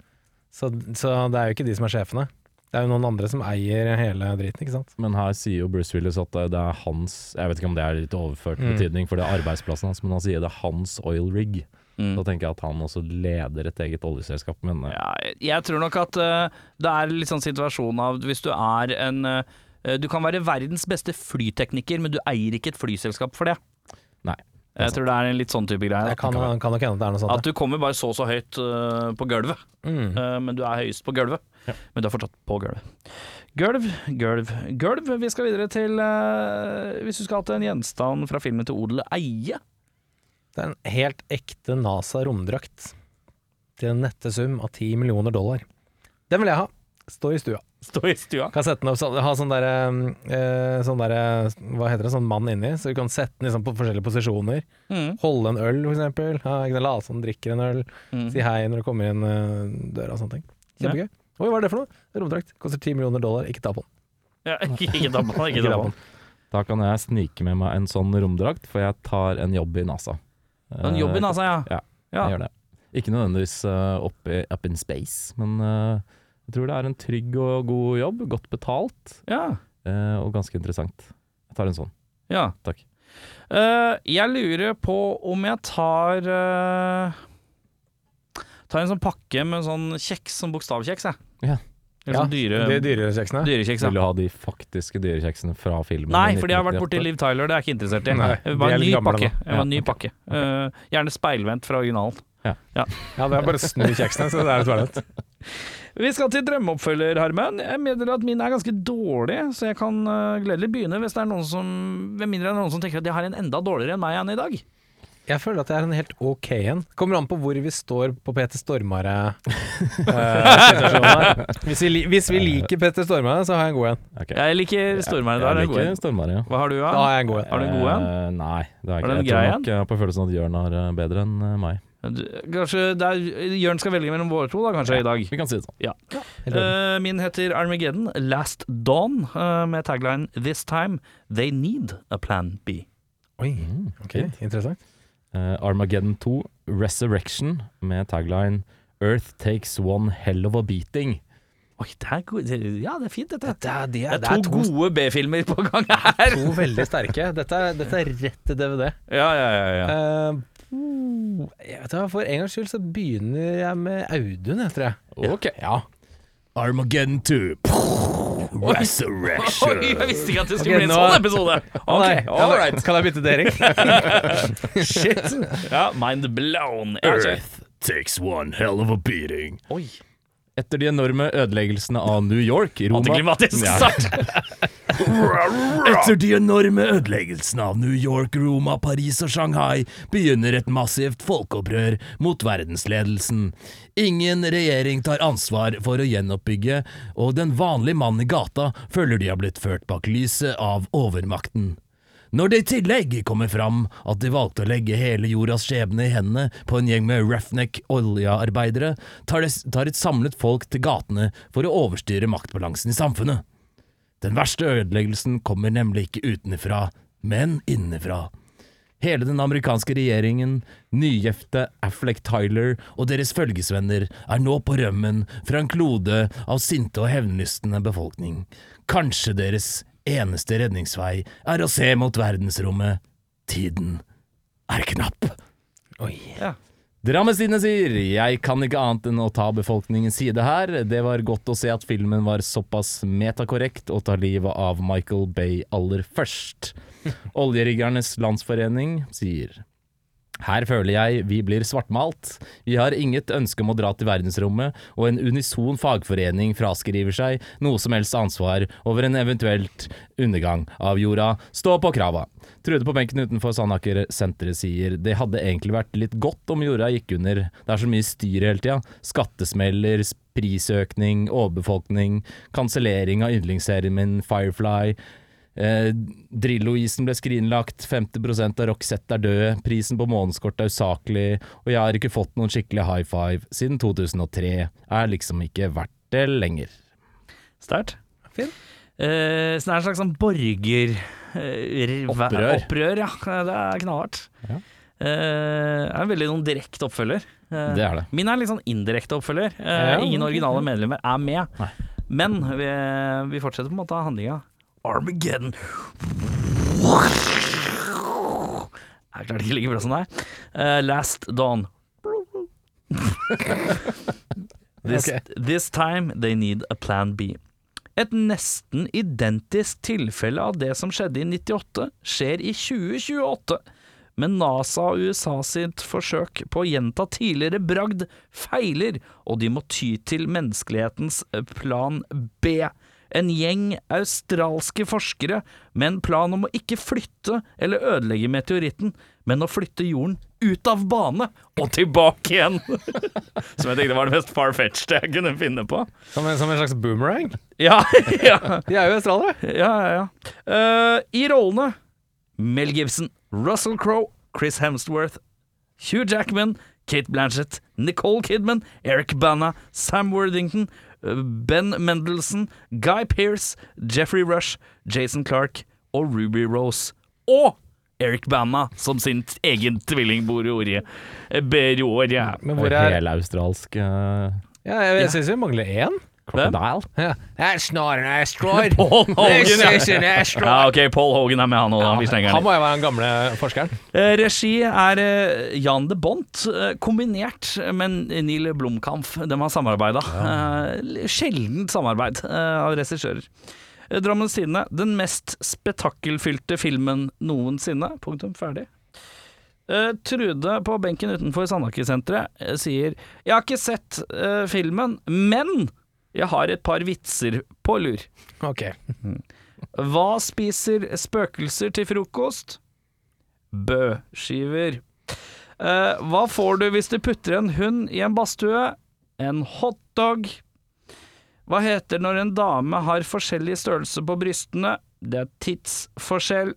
Speaker 2: Så, så det er jo ikke de som er sjefene. Det er jo noen andre som eier hele driten, ikke sant.
Speaker 3: Men her sier jo Bruce Willis at eh, det er hans Jeg vet ikke om det er litt overført
Speaker 2: Mm.
Speaker 3: betydning, for det er arbeidsplassen hans, men han sier det er hans oil rig.
Speaker 1: Mm.
Speaker 3: Da tenker jeg at han også leder et eget oljeselskap, men eh,
Speaker 1: Ja, jeg tror nok at eh, det er litt sånn situasjon av hvis du er en eh, Du kan være verdens beste flytekniker, men du eier ikke et flyselskap for det.
Speaker 3: nei.
Speaker 1: Jeg tror det er en litt sånn type greie.
Speaker 2: Det kan, kan nok hende at det er noe
Speaker 1: At
Speaker 2: sånt.
Speaker 1: du kommer bare så og så høyt øh, på gulvet,
Speaker 2: ja. Mm.
Speaker 1: øh, men du er høyest på gulvet. Men du er fortsatt på gulvet. Gulv, gulv, gulv. Vi skal videre til øh, Hvis du skal til en gjenstand fra filmen til odel og eie.
Speaker 2: Det er en helt ekte NASA-romdrakt til en nette sum av 10 millioner dollar. Den vil jeg ha. Stå i stua.
Speaker 1: Stå i stua.
Speaker 2: Kan sette den opp, sånn- ha sånn derre eh, sånn derre- Hva heter det, sånn mann inni, så du kan sette den liksom på forskjellige posisjoner.
Speaker 1: Mm.
Speaker 2: Holde en øl, for eksempel. Ha, ikke sant, Late som du drikker en øl.
Speaker 1: Mm.
Speaker 2: Si hei når du kommer inn eh, døra og sånne ting. Kjempegøy. Oi, hva er det for noe? Romdrakt. Koster 10 millioner dollar, ikke ta på den.
Speaker 1: Ja, ikke ikke ta på den, ikke
Speaker 2: Ikke
Speaker 1: ta
Speaker 2: ta
Speaker 1: på
Speaker 2: på
Speaker 1: den.
Speaker 3: Da kan jeg snike med meg en sånn romdrakt, for jeg tar en jobb i NASA.
Speaker 1: Men jobben, altså, ja.
Speaker 3: Eh, ja. Jeg gjør det. Ikke nødvendigvis eh, opp, i, up in space, men eh, jeg tror det er en trygg og god jobb. Godt betalt
Speaker 1: ja.
Speaker 3: eh, og ganske interessant. Jeg tar en sånn.
Speaker 1: ja.
Speaker 3: Takk.
Speaker 1: Eh, jeg lurer på om jeg tar eh, Tar en sånn pakke med sånn kjeks, sånn bokstavkjeks, jeg.
Speaker 3: Ja.
Speaker 1: Eller sånn dyre,
Speaker 2: De dyrere kjeksene.
Speaker 1: dyrekjeks, ja.
Speaker 3: Vil du ha de faktiske dyrekjeksene fra filmen?
Speaker 1: Nei,
Speaker 3: i
Speaker 1: fordi jeg har vært borti
Speaker 3: 1998?
Speaker 1: Liv Tyler, det er jeg ikke interessert i.
Speaker 2: Nei,
Speaker 1: jeg vil bare en
Speaker 2: de er
Speaker 1: ny
Speaker 2: litt gamle
Speaker 1: pakke.
Speaker 2: nå.
Speaker 1: Jeg vil ha en ny pakke. Eh, gjerne speilvendt fra originalen.
Speaker 2: Ja, det er bare å snu kjeksene, så det er litt verdt
Speaker 1: Vi skal til drømmeoppfølger, Harmen. Jeg mener at min er ganske dårlig, så jeg kan eh, gledelig begynne hvis det er noen som Med mindre det er noen som tenker at de har en enda dårligere enn meg igjen i dag.
Speaker 2: Jeg føler at jeg er en helt ok en. Kommer an på hvor vi står på Peter Stormare-situasjonen her. Hvis vi, li- hvis vi liker Peter Stormare, så har jeg en god en.
Speaker 3: Ok.
Speaker 1: Jeg liker Stormare der.
Speaker 3: Jeg
Speaker 1: det er god.
Speaker 3: liker Stormare, ja.
Speaker 1: Hva har du,
Speaker 2: Da
Speaker 1: da?
Speaker 2: har jeg en god en.
Speaker 1: Har du en god en?
Speaker 3: Eh, nei, det har jeg
Speaker 1: Har du en
Speaker 3: ikke. Jeg tror
Speaker 1: grei en?
Speaker 3: nok jeg har på følelsen at Jørn er eh, bedre enn eh, meg.
Speaker 1: Du- Kanskje det er Jørn skal velge mellom våre to, da, kanskje, i dag.
Speaker 3: Vi kan si det sånn.
Speaker 1: Ja.
Speaker 2: Helt enig.
Speaker 1: Eh, min heter Armageddon, Last Dawn, eh, med tagline This time they need a plan B.
Speaker 2: Oi,
Speaker 3: Mm,
Speaker 2: ok, interessant.
Speaker 3: Eh, Armageddon 2, Resurrection, med tagline Earth takes one hell of a beating.
Speaker 1: Oi, det er god, det, ja, det er fint, dette.
Speaker 2: Det er,
Speaker 1: Det er to, gode B-filmer på gang her.
Speaker 2: to veldig sterke. Dette er, dette er rett til DVD.
Speaker 1: Ja, ja, ja, ja.
Speaker 2: Eh, jeg vet ikke, For en gangs skyld så begynner jeg med Audun, jeg tror jeg.
Speaker 3: Ok, ja. Armageddon 2, Resurrection.
Speaker 1: Oi, jeg visste ikke at det skulle
Speaker 2: Ok,
Speaker 1: bli en
Speaker 2: nå-
Speaker 1: sånn episode.
Speaker 2: Nei,
Speaker 1: Ok,
Speaker 2: kan
Speaker 1: all
Speaker 2: jeg-
Speaker 1: right.
Speaker 2: Kan jeg bytte til Erik?
Speaker 1: Shit. Ja, mind blown. Jeg vet ikke.
Speaker 3: takes one hell of a beating.
Speaker 1: Oi,
Speaker 3: Etter de enorme ødeleggelsene av New York, Roma
Speaker 1: antiklimatisk
Speaker 3: Ja.
Speaker 1: start.
Speaker 3: Etter de enorme ødeleggelsene av New York, Roma, Paris og Shanghai begynner et massivt folkeopprør mot verdensledelsen. Ingen regjering tar ansvar for å gjenoppbygge, og den vanlige mannen i gata føler de har blitt ført bak lyset av overmakten. Når det i tillegg kommer fram at de valgte å legge hele jordas skjebne i hendene på en gjeng med roughneck oljearbeidere, tar, det, tar et samlet folk til gatene for å overstyre maktbalansen i samfunnet. Den verste ødeleggelsen kommer nemlig ikke utenfra, men innenfra. Hele den amerikanske regjeringen, nygifte Affleck Tyler og deres følgesvenner er nå på rømmen fra en klode av sinte og hevnlystne befolkning. Kanskje deres eneste redningsvei er å se mot verdensrommet. Tiden er knapp.
Speaker 2: Oi.
Speaker 3: Drammestidene sier 'Jeg kan ikke annet enn å ta befolkningens side her'. Det var godt å se at filmen var såpass metakorrekt og tar livet av Michael Bay aller først. Oljeriggernes landsforening sier her føler jeg vi blir svartmalt. Vi har inget ønske om å dra til verdensrommet, og en unison fagforening fraskriver seg noe som helst ansvar over en eventuelt undergang av jorda. Stå på krava. Trude på benken utenfor Sandaker senteret sier det hadde egentlig vært litt godt om jorda gikk under. Det er så mye styr hele tida. Skattesmeller, prisøkning, overbefolkning, kansellering av yndlingsserien min Firefly. Eh, Drillo-isen ble skrinlagt, 50 av Roxette er døde, prisen på månedskort er usaklig, og jeg har ikke fått noen skikkelig high five siden 2003. Er liksom ikke verdt det lenger.
Speaker 1: Sterkt.
Speaker 2: Fin.
Speaker 1: Eh, så det er en slags sånn borger... eh, ver-
Speaker 3: Opprør.
Speaker 1: Opprør, ja. Det er knallhardt. Eh,
Speaker 3: Ja.
Speaker 1: det er veldig noen direkte oppfølger. Eh,
Speaker 3: Det er det.
Speaker 1: Min er litt sånn indirekte oppfølger. Eh,
Speaker 2: Ja,
Speaker 1: ingen
Speaker 2: ok.
Speaker 1: originale medlemmer er med.
Speaker 3: Nei.
Speaker 1: Men vi, vi fortsetter på en måte av handlinga. Armageddon. Jeg klarte ikke like bra som deg. Eh, last Dawn. this,
Speaker 2: Ok.
Speaker 1: this time they need a plan B. Et nesten identisk tilfelle av det som skjedde i 98, skjer i 2028. men NASA og USA sitt forsøk på å gjenta tidligere bragd feiler, og de må ty til menneskelighetens plan B. En gjeng australske forskere med en plan om å ikke flytte eller ødelegge meteoritten, men å flytte jorden ut av bane og tilbake igjen. Som jeg tenkte var det mest far-fetched jeg kunne finne på.
Speaker 2: Som en, som en slags boomerang?
Speaker 1: Ja, ja.
Speaker 2: De er jo australiere.
Speaker 1: Ja, ja, ja. Eh, I rollene Mel Gibson, Russell Crowe, Chris Hemsworth, Hugh Jackman, Kate Blanchett, Nicole Kidman, Eric Bana, Sam Worthington, eh, Ben Mendelsohn, Guy Pearce, Jeffrey Rush, Jason Clark og Ruby Rose. Og Eric Bana som sin t- egen tvilling bor i ordet. Eh, Ber i ordet.
Speaker 2: Men hvor er
Speaker 3: Helaustralsk uh,
Speaker 2: Ja, jeg, jeg syns vi mangler én.
Speaker 3: crocodile.
Speaker 2: Ja. That's not an asteroid.
Speaker 1: Paul Hogan,
Speaker 2: This is
Speaker 1: ja.
Speaker 2: an asteroid.
Speaker 1: ja, ok, Paul Hogan er med, han òg. da, vi slenger den
Speaker 2: Han må jo være den gamle forskeren.
Speaker 1: Eh, Regi er eh, Jan de Bont, eh, kombinert med Neil Blomkamp. De har samarbeida. Eh, Sjeldent samarbeid eh, av regissører. Eh, Drammens Tidende, den mest spetakkelfylte filmen noensinne. Punktum. Ferdig. Eh, Trude på benken utenfor Sandaker-senteret eh, sier Jeg har ikke sett eh, filmen, men jeg har et par vitser på lur.
Speaker 2: Ok.
Speaker 1: Hva spiser spøkelser til frokost? Bøskiver. Eh, hva får du hvis du putter en hund i en badstue? En hotdog. Hva heter når en dame har forskjellig størrelse på brystene? Det er tidsforskjell.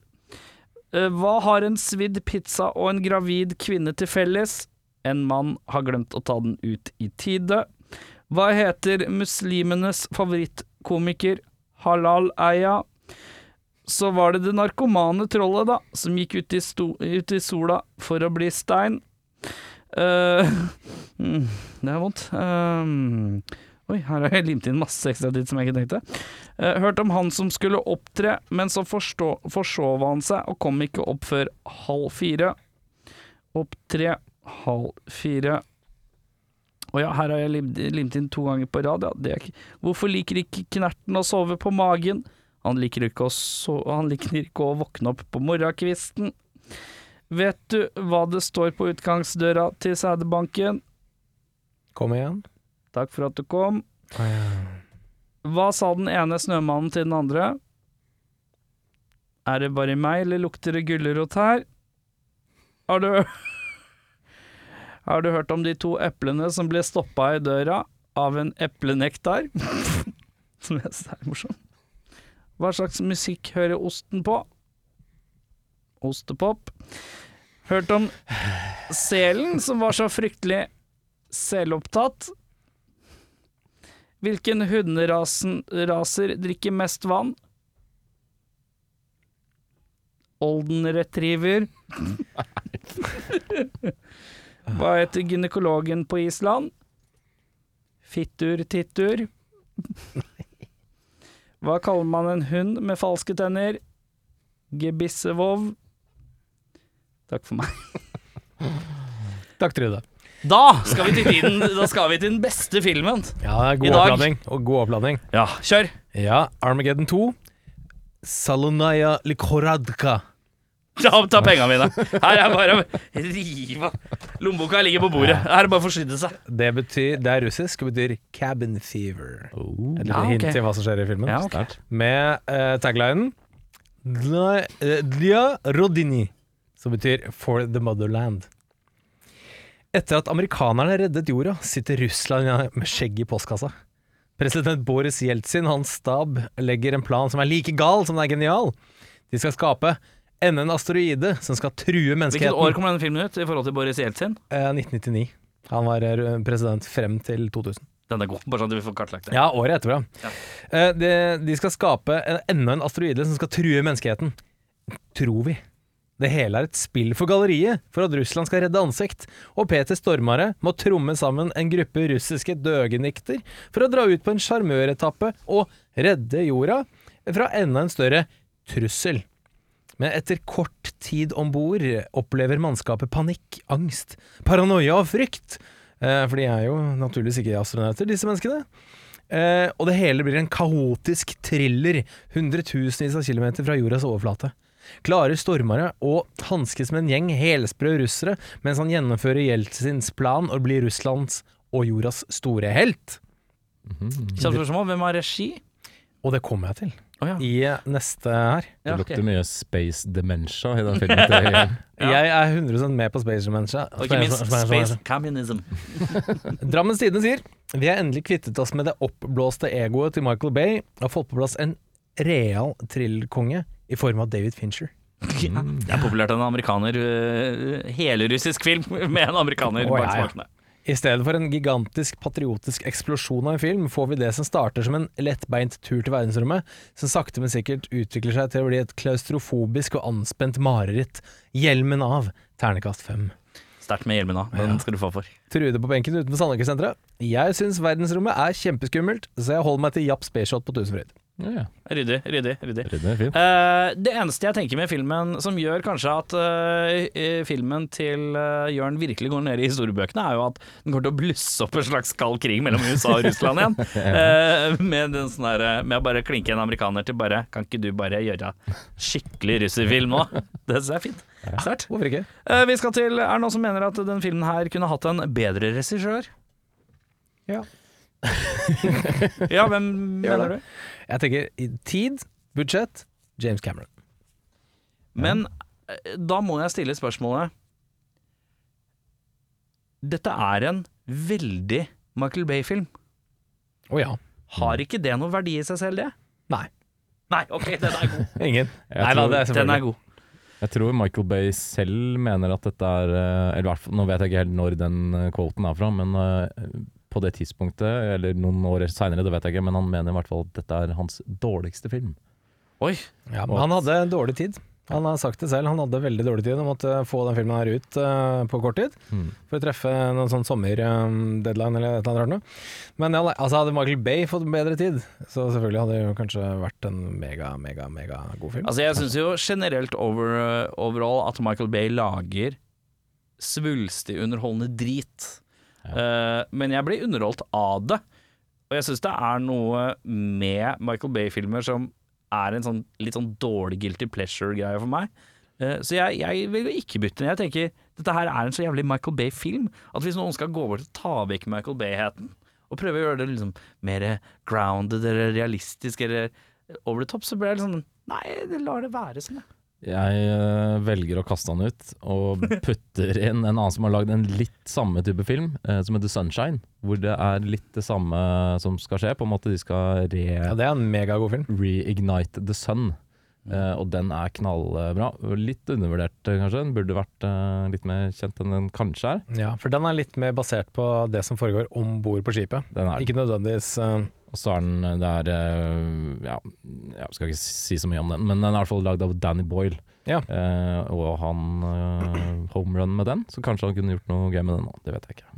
Speaker 1: Eh, hva har en svidd pizza og en gravid kvinne til felles? En mann har glemt å ta den ut i tide. Hva heter muslimenes favorittkomiker? Halal Eia. Så var det det narkomane trollet, da, som gikk ut i, sto ut i sola for å bli stein. Eh, mm, det er vondt. Eh, oi, her har jeg limt inn masse ekstra tid som jeg ikke tenkte. Eh, hørt om han som skulle opptre, men så forstå- forsov han seg og kom ikke opp før halv fire. Opp tre, halv fire. Å ja, her har jeg limt, limt inn to ganger på rad. Ja, det er ikke. Hvorfor liker ikke knerten å sove på magen? Han liker ikke å, so han liker ikke å våkne opp på morgenkvisten. Vet du hva det står på utgangsdøra til sædbanken?
Speaker 2: Kom igjen.
Speaker 1: Takk for at du kom. Hva sa den ene snømannen til den andre? Er det bare meg, eller lukter det gulrot her? Har du Har du hørt om de to eplene som ble stoppa i døra av en eplenektar? som jeg synes er morsom. Hva slags musikk hører osten på? Ostepop. Hørt om selen som var så fryktelig selopptatt? Hvilken hunderaser drikker mest vann? Olden retriever. Hva heter gynekologen på Island? Fittur-tittur. Hva kaller man en hund med falske tenner? Gebissevov. Takk for meg.
Speaker 2: Takk, Trude.
Speaker 1: Da skal vi til, tiden, da skal vi til den beste filmen.
Speaker 2: Ja, det er
Speaker 1: I
Speaker 2: god
Speaker 1: dag-
Speaker 2: oppladning. Og god oppladning.
Speaker 1: Ja, kjør.
Speaker 2: Ja, Armageddon 2. Salonaya Likoradka.
Speaker 1: Ta, ta penga mine. Her er bare å rive av. Lommeboka ligger på bordet. Her er det bare å forsyne seg.
Speaker 2: Det betyr, det er russisk og betyr cabin fever. Et
Speaker 1: Ja,
Speaker 2: lite
Speaker 1: Ah, ok.
Speaker 2: hint til hva som skjer i filmen.
Speaker 1: Ja, ok.
Speaker 2: Sterkt. Med eh, taglinen Dla eh, «Dla Rodini, som betyr For the motherland. Etter at amerikanerne reddet jorda, sitter Russland med skjegg i postkassa. President Boris Jeltsin, hans stab, legger en plan som er like gal som den er genial. De skal skape enda en asteroide som skal true
Speaker 1: Hvilket år
Speaker 2: menneskeheten.
Speaker 1: kommer denne filmen ut i forhold til Boris Jeltsin?
Speaker 2: Eh, 1999. Han var eh, president frem til 2000.
Speaker 1: Den er god, bare sånn at vi får kartlagt det.
Speaker 2: Ja, året etterpå. Ja. Eh, de, de skal skape en, enda en asteroide som skal true menneskeheten. Tror vi. Det hele er et spill for galleriet, for at Russland skal redde ansikt, og Peter Stormare må tromme sammen en gruppe russiske døgenikter for å dra ut på en sjarmøretappe og redde jorda fra enda en større trussel. Men etter kort tid om bord opplever mannskapet panikk, angst, paranoia og frykt. Eh, For de er jo naturligvis ikke astronauter, disse menneskene. Eh, og det hele blir en kaotisk thriller hundretusenvis av kilometer fra jordas overflate. klarer stormere å hanskes med en gjeng helsprø russere mens han gjennomfører Jeltsins plan og blir Russlands og jordas store helt.
Speaker 3: Mhm.
Speaker 1: Kjapt spørsmål, hvem har regi?
Speaker 2: Og det kommer jeg til
Speaker 1: Å ja.
Speaker 2: i neste her.
Speaker 1: Ja,
Speaker 3: Det
Speaker 1: ok.
Speaker 3: lukter mye space dementia i den filmen. til-
Speaker 2: Jeg er 100 med på Space Dementia.
Speaker 1: Og ikke minst Space Communism.
Speaker 2: Drammens Tidende sier Vi har endelig kvittet oss med det oppblåste egoet til Michael Bay og fått på plass en real thriller-konge i form av David Fincher.
Speaker 1: Ja. Det er populært en amerikaner øh, Helrussisk film med en amerikaner
Speaker 2: Å,
Speaker 1: bak
Speaker 2: ja, ja.
Speaker 1: smakene.
Speaker 2: I stedet for en gigantisk patriotisk eksplosjon av en film, får vi det som starter som en lettbeint tur til verdensrommet, som sakte, men sikkert utvikler seg til å bli et klaustrofobisk og anspent mareritt. Hjelmen av. Ternekast fem.
Speaker 1: Sterkt med hjelmen av. Den skal du få for.
Speaker 2: Trude på benken utenfor Sandøkesenteret. Jeg syns verdensrommet er kjempeskummelt, så jeg holder meg til Japp Spaceshot på Tusenfryd.
Speaker 3: Ja, ja.
Speaker 1: Ryddig, ryddig, ryddig.
Speaker 3: Ryddig, fint.
Speaker 1: Eh, det eneste jeg tenker med filmen som gjør kanskje at eh, eh, filmen til eh, Jørn virkelig går ned i historiebøkene, er jo at den kommer til å blusse opp en slags kald krig mellom USA og Russland igjen. Eh, med, den sånn der, med å bare klinke en amerikaner til bare Kan ikke du bare gjøre skikkelig russerfilm nå? Det syns jeg er fint. Sterkt.
Speaker 2: Hvorfor ikke?
Speaker 1: Eh, vi skal til Er det noen som mener at den filmen her kunne hatt en bedre regissør?
Speaker 2: Ja.
Speaker 1: ja, hvem mener du?
Speaker 2: Jeg tenker i tid, budsjett, James Cameron.
Speaker 1: Men eh, da må jeg stille spørsmålet Dette er en veldig Michael Bay-film.
Speaker 2: Å ja.
Speaker 1: Har ikke det noen verdi i seg selv, det?
Speaker 2: Nei.
Speaker 1: Mm. Nei, ok, den er god.
Speaker 2: Ingen.
Speaker 3: Jeg
Speaker 2: Nei da,
Speaker 3: tror-
Speaker 2: det er
Speaker 1: Den
Speaker 2: selvfølgelig
Speaker 1: er god.
Speaker 3: Jeg tror Michael Bay selv mener at dette er eh, Eller i hvert fall, nå vet jeg ikke helt når den eh, quoten er fra, men eh, på det tidspunktet, eller noen år seinere, det vet jeg ikke, men han mener i hvert fall at dette er hans dårligste film.
Speaker 1: Oi.
Speaker 2: ja, men Han hadde dårlig tid. Han har sagt det selv, han hadde veldig dårlig tid. Han måtte få den filmen her ut eh, på kort tid for å treffe noen sånn sommerdeadline eller et eller annet. rart noe. Men ja, nei, altså hadde Michael Bay fått bedre tid, så selvfølgelig hadde det jo kanskje vært en mega, mega, mega god film.
Speaker 1: Altså, jeg syns jo generelt over, overall at Michael Bay lager svulstig underholdende drit. Eh, men jeg blir underholdt av det. Og jeg syns det er noe med Michael Bay-filmer som er en sånn litt sånn dårlig guilty pleasure-greie for meg. Eh, så jeg, jeg vil jo ikke bytte den. Jeg tenker dette her er en så jævlig Michael Bay-film at hvis noen skal gå bort og ta vekk Michael Bay-heten, og prøve å gjøre det liksom mer grounded eller realistisk eller over the top, så blir jeg liksom Nei, det lar det være som det.
Speaker 3: Jeg eh, velger å kaste han ut, og putter inn en annen som har lagd en litt samme type film, eh, som heter Sunshine. Hvor det er litt det samme som skal skje. På en måte de skal re...
Speaker 2: Ja, det er en megagod film.
Speaker 3: Reignite the Sun. Eh, og den er knallbra. Litt undervurdert, eh, kanskje. Den burde vært eh, litt mer kjent enn den kanskje er.
Speaker 2: Ja, For den er litt mer basert på det som foregår om bord på skipet.
Speaker 3: Den er.
Speaker 2: Ikke nødvendigvis eh,
Speaker 3: Og så er den det er, eh, ja, jeg skal ikke si så mye om den, men den er i hvert fall lagd av Danny Boyle.
Speaker 2: Ja.
Speaker 3: Eh, og han eh, homerun med den, så kanskje han kunne gjort noe gøy med den òg. Det vet jeg ikke.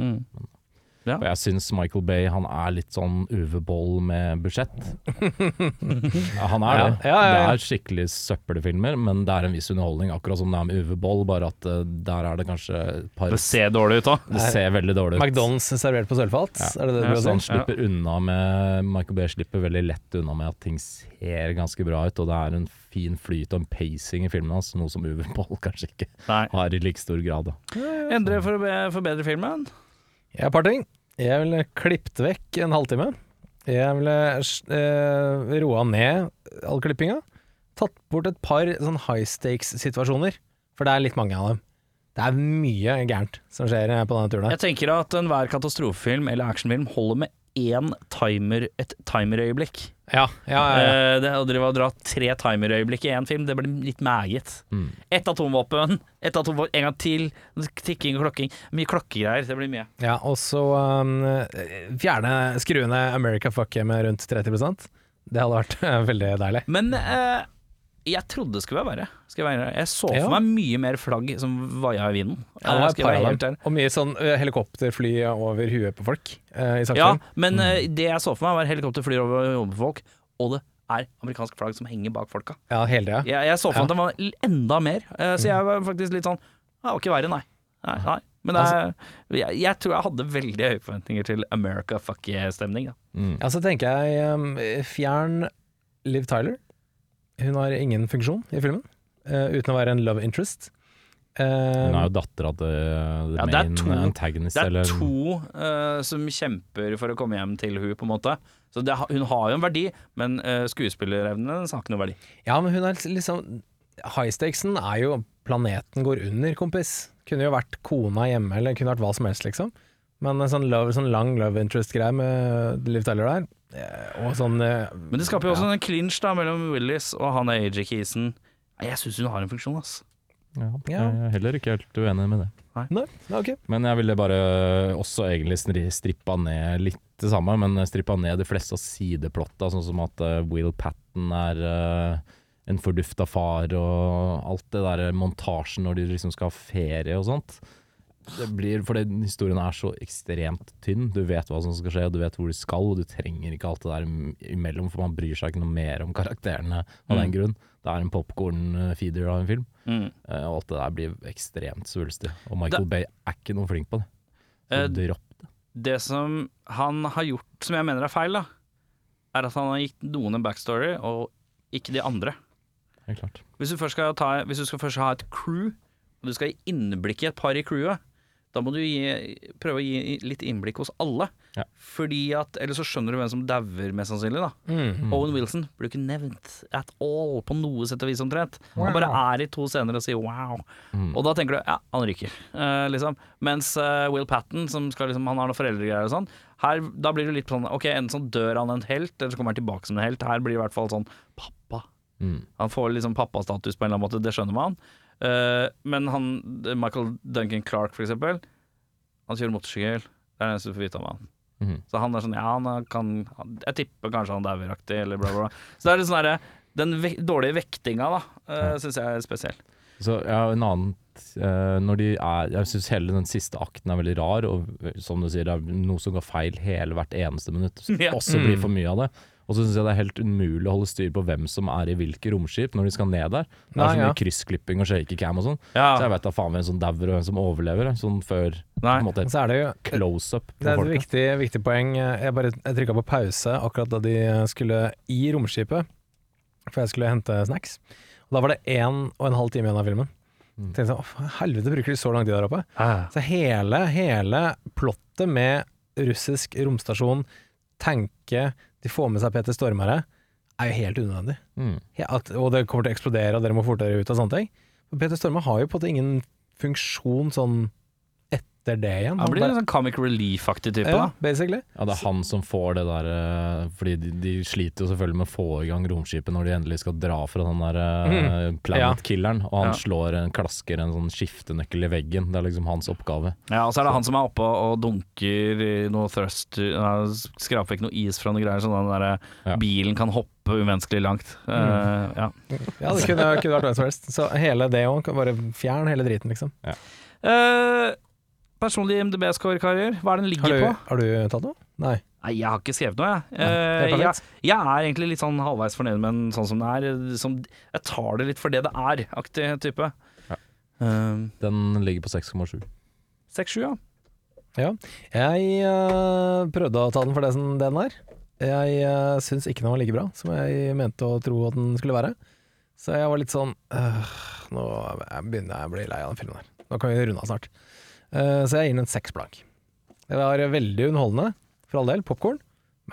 Speaker 3: Og jeg syns Michael Bay han er litt sånn Uwe Boll med budsjett. ja, han er det.
Speaker 2: Ja, ja, ja, ja.
Speaker 3: Det er skikkelig søppelfilmer, men det er en viss underholdning, akkurat som det er med Uwe Boll, bare at eh, der er det kanskje et par
Speaker 1: Det ser dårlig ut òg.
Speaker 3: Det ser veldig dårlig ut.
Speaker 2: McDonald's servert på sølvfat. Er sånn? det det
Speaker 1: Ja,
Speaker 2: du vil
Speaker 3: Så
Speaker 2: si?
Speaker 3: han slipper unna med Michael Bay slipper veldig lett unna med at ting ser ganske bra ut, og det er en fin flyt og en pacing i filmen hans, noe som Uwe Boll kanskje ikke
Speaker 1: Nei.
Speaker 3: har i like stor grad. Da.
Speaker 1: Endre for å be- forbedre filmen.
Speaker 2: Ja, et par ting. Jeg ville klippet vekk en halvtime. Jeg ville eh, roa ned all klippinga. Tatt bort et par sånn high stakes-situasjoner, for det er litt mange av dem. Det er mye gærent som skjer eh, på denne turen. her.
Speaker 1: Jeg tenker at enhver katastrofefilm eller actionfilm holder med én timer, et timerøyeblikk.
Speaker 2: Ja, ja, ja, ja.
Speaker 1: Eh, det å drive og dra tre timerøyeblikk i én film, det blir litt meget. Ett atomvåpen, ett atomvåpen, en gang til, tikking og klokking. Mye klokkegreier, det blir mye.
Speaker 2: ja og så um, fjerne skru ned America Fuck You med rundt 30 Det hadde vært eh, veldig deilig.
Speaker 1: Men eh, jeg trodde det skulle være verre. Skal jeg, være ærlig. jeg så for
Speaker 2: Ja.
Speaker 1: meg mye mer flagg som vaia i vinden.
Speaker 2: Ja,
Speaker 1: Eh,
Speaker 2: det var
Speaker 1: skal jeg være helt
Speaker 2: et par av
Speaker 1: ærlig.
Speaker 2: dem. Og mye sånn eh, helikopterfly over huet på folk eh, i saksen.
Speaker 1: Ja, men eh, det jeg så for meg, var helikopter flyr over og jobber folk, og det er amerikansk flagg som henger bak folka.
Speaker 2: Ja, hele tida.
Speaker 1: Jeg, jeg så for meg at det var l- enda mer, eh, så jeg var faktisk litt sånn Det var ikke verre, nei. nei, nei. Men det er, jeg, jeg tror jeg hadde veldig høye forventninger til America fuck yeah-stemning. da.
Speaker 3: Mm.
Speaker 2: Ja, så tenker jeg um, fjern Liv Tyler. Hun har ingen funksjon i filmen. eh, uten å være en love interest. Eh,
Speaker 3: Hun er jo dattera til the
Speaker 1: um, Ja, det er
Speaker 3: main
Speaker 1: to-
Speaker 3: antagonist,
Speaker 1: Det
Speaker 3: eller
Speaker 1: er to eh, som kjemper for å komme hjem til hun på en måte. Så det, ha- hun har jo en verdi, men uh, skuespillerevnen hennes har ikke noe verdi.
Speaker 2: Eh, ja, men hun er liksom High stakesen er jo planeten går under, kompis. Kunne jo vært kona hjemme, eller kunne vært hva som helst, liksom. Men en sånn, love, sånn lang love interest-greie med Liv Tyler der, eh, og sånn eh,
Speaker 1: Men det skaper jo også en clinch da mellom Willis og han AJ Keeson. Nei, Jeg syns hun har en funksjon, ass.
Speaker 3: ja,
Speaker 2: Ja.
Speaker 3: Jeg er heller ikke helt uenig med det.
Speaker 2: Nei, ok.
Speaker 3: Men jeg ville bare også egentlig snri- strippa ned litt det samme, men strippa ned de fleste av sideplotta, sånn som at eh, Will Patten er eh, en fordufta far, og alt det der montasjen når de liksom skal ha ferie og sånt. Det blir, for den historien er så ekstremt tynn. Du vet hva som skal skje, og du vet hvor de skal, og du trenger ikke alt det der im- imellom, for man bryr seg ikke noe mer om karakterene av den grunn. Det er en popkorn-feeder av en film.
Speaker 1: Mm.
Speaker 3: Eh, Og alt det der blir ekstremt svulstig. Og Michael Bay er ikke noe flink på det. Så
Speaker 1: Eh,
Speaker 3: dropp det.
Speaker 1: Det som han har gjort som jeg mener er feil, da, er at han har gitt noen en backstory, og ikke de andre.
Speaker 3: Helt klart.
Speaker 1: Hvis du først skal, ta, hvis du skal først ha et crew, og du skal gi innblikk i et par i crewet, da må du gi, prøve å gi litt innblikk hos alle.
Speaker 3: Ja.
Speaker 1: Fordi at, Ellers så skjønner du hvem som dauer, mest sannsynlig. da Owen Wilson blir jo ikke nevnt at all på noe sett og vis omtrent. Han bare er i to scener og sier wow. Og da tenker du ja, han ryker, eh, liksom. Mens eh, Will Patten, som skal liksom, han har noen foreldregreier og sånn, her, da blir det litt sånn ok, enten så dør han en helt, eller så kommer han tilbake som en helt. Her blir det i hvert fall sånn pappa.
Speaker 3: Mm.
Speaker 1: Han får liksom pappastatus på en eller annen måte, det skjønner man. Eh, men han, Michael Duncan Clark, for eksempel, han kjører motorsykkel. Det er det eneste du får vite om han.
Speaker 3: Mhm.
Speaker 1: Så han er sånn Ja, han kan han- Jeg tipper kanskje han dauer-aktig, eller bla, bla, bla. Så det er litt sånn derre Den vek dårlige vektinga, da, uh, syns jeg er spesiell.
Speaker 3: Så ja, en annen eh, når de er, Jeg syns hele den siste akten er veldig rar, og eh, som du sier, det er noe som går feil hele hvert eneste minutt. Som
Speaker 1: Ja.
Speaker 3: også blir
Speaker 2: Mm.
Speaker 3: for mye av det. Og så syns jeg det er helt umulig å holde styr på hvem som er i hvilke romskip når de skal ned der. Det er
Speaker 2: Nei,
Speaker 3: så
Speaker 2: ja.
Speaker 3: mye kryssklipping og shakycam og sånn.
Speaker 1: Ja.
Speaker 3: Så jeg vet da faen hvem som dauer og hvem som overlever. Sånn før på
Speaker 1: Nei.
Speaker 3: en måte
Speaker 2: Men så er det jo
Speaker 3: close up
Speaker 2: Det
Speaker 3: på
Speaker 2: er et
Speaker 3: folket.
Speaker 2: viktig, viktig poeng. Jeg bare jeg trykka på pause akkurat da de skulle i romskipet, for jeg skulle hente snacks. Og da var det én og en halv time igjen av filmen.
Speaker 3: Mm.
Speaker 2: Jeg tenkte sånn, «Å, helvete bruker de så lang tid der oppe? Så hele, hele plottet med russisk romstasjon, tanke, de får med seg Peter Stormare, er jo helt unødvendig.
Speaker 3: Mm.
Speaker 2: Ja, at, og det kommer til å eksplodere, og dere må forte dere ut og sånne ting. Men Peter Stormare har jo på en måte ingen funksjon sånn etter det igjen.
Speaker 1: Han blir
Speaker 2: bare-
Speaker 1: en sånn comic relief-aktig type,
Speaker 2: ja,
Speaker 1: da.
Speaker 2: basically.
Speaker 3: Ja, det er han som får det der eh, Fordi de, de sliter jo selvfølgelig med å få i gang romskipet når de endelig skal dra fra den der eh, planet-killeren, og han
Speaker 1: Mhm. Ja.
Speaker 3: slår en klasker en sånn skiftenøkkel i veggen. Det er liksom hans oppgave.
Speaker 1: Ja, Og så er det han som er oppe og dunker i noe thrust nei, Skraper vekk noe is fra noe greier, sånn den derre
Speaker 3: Ja.
Speaker 1: bilen kan hoppe umenneskelig langt. Eh, ja.
Speaker 2: Ja, det kunne, kunne vært hvem som helst. Så hele det òg, bare fjern hele driten, liksom.
Speaker 1: Eh, personlig MDB-score, karer. Hva er den
Speaker 2: Har
Speaker 1: ligger
Speaker 2: du,
Speaker 1: på?
Speaker 2: har du tatt noe? Nei.
Speaker 1: Nei, jeg har ikke skrevet noe, jeg.
Speaker 2: Nei, det
Speaker 1: Eh,
Speaker 2: er
Speaker 1: jeg.
Speaker 2: perfekt.
Speaker 1: Jeg er egentlig litt sånn halvveis fornøyd med den sånn som den er. Som, jeg tar det litt for det det er, aktig type.
Speaker 3: Ja.
Speaker 1: Ehm,
Speaker 3: Den ligger på 6,7.
Speaker 1: 6-7, ja.
Speaker 2: Ja. Jeg eh, prøvde å ta den for det som den er. Jeg uh, syns ikke den var like bra som jeg mente å tro at den skulle være. Så jeg var litt sånn «Åh, Nå begynner jeg å bli lei av den filmen her. Nå kan vi runde av snart. Eh, så jeg gir den en seks blank. Det var veldig underholdende, for all del, popkorn,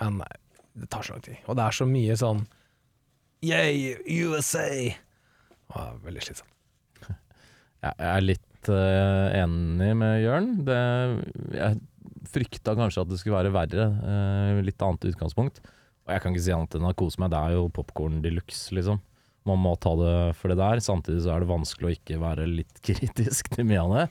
Speaker 2: men nei, det tar så lang tid. Og det er så mye sånn Yay, USA! Og det er veldig slitsomt.
Speaker 3: Jeg er litt eh, enig med Jørn. Det, jeg frykta kanskje at det skulle være verre. eh, litt annet utgangspunkt. Og jeg kan ikke si annet enn å kose meg. Det er jo popkorn de luxe, liksom. Man må ta det for det der. Samtidig så er det vanskelig å ikke være litt kritisk til mye av det.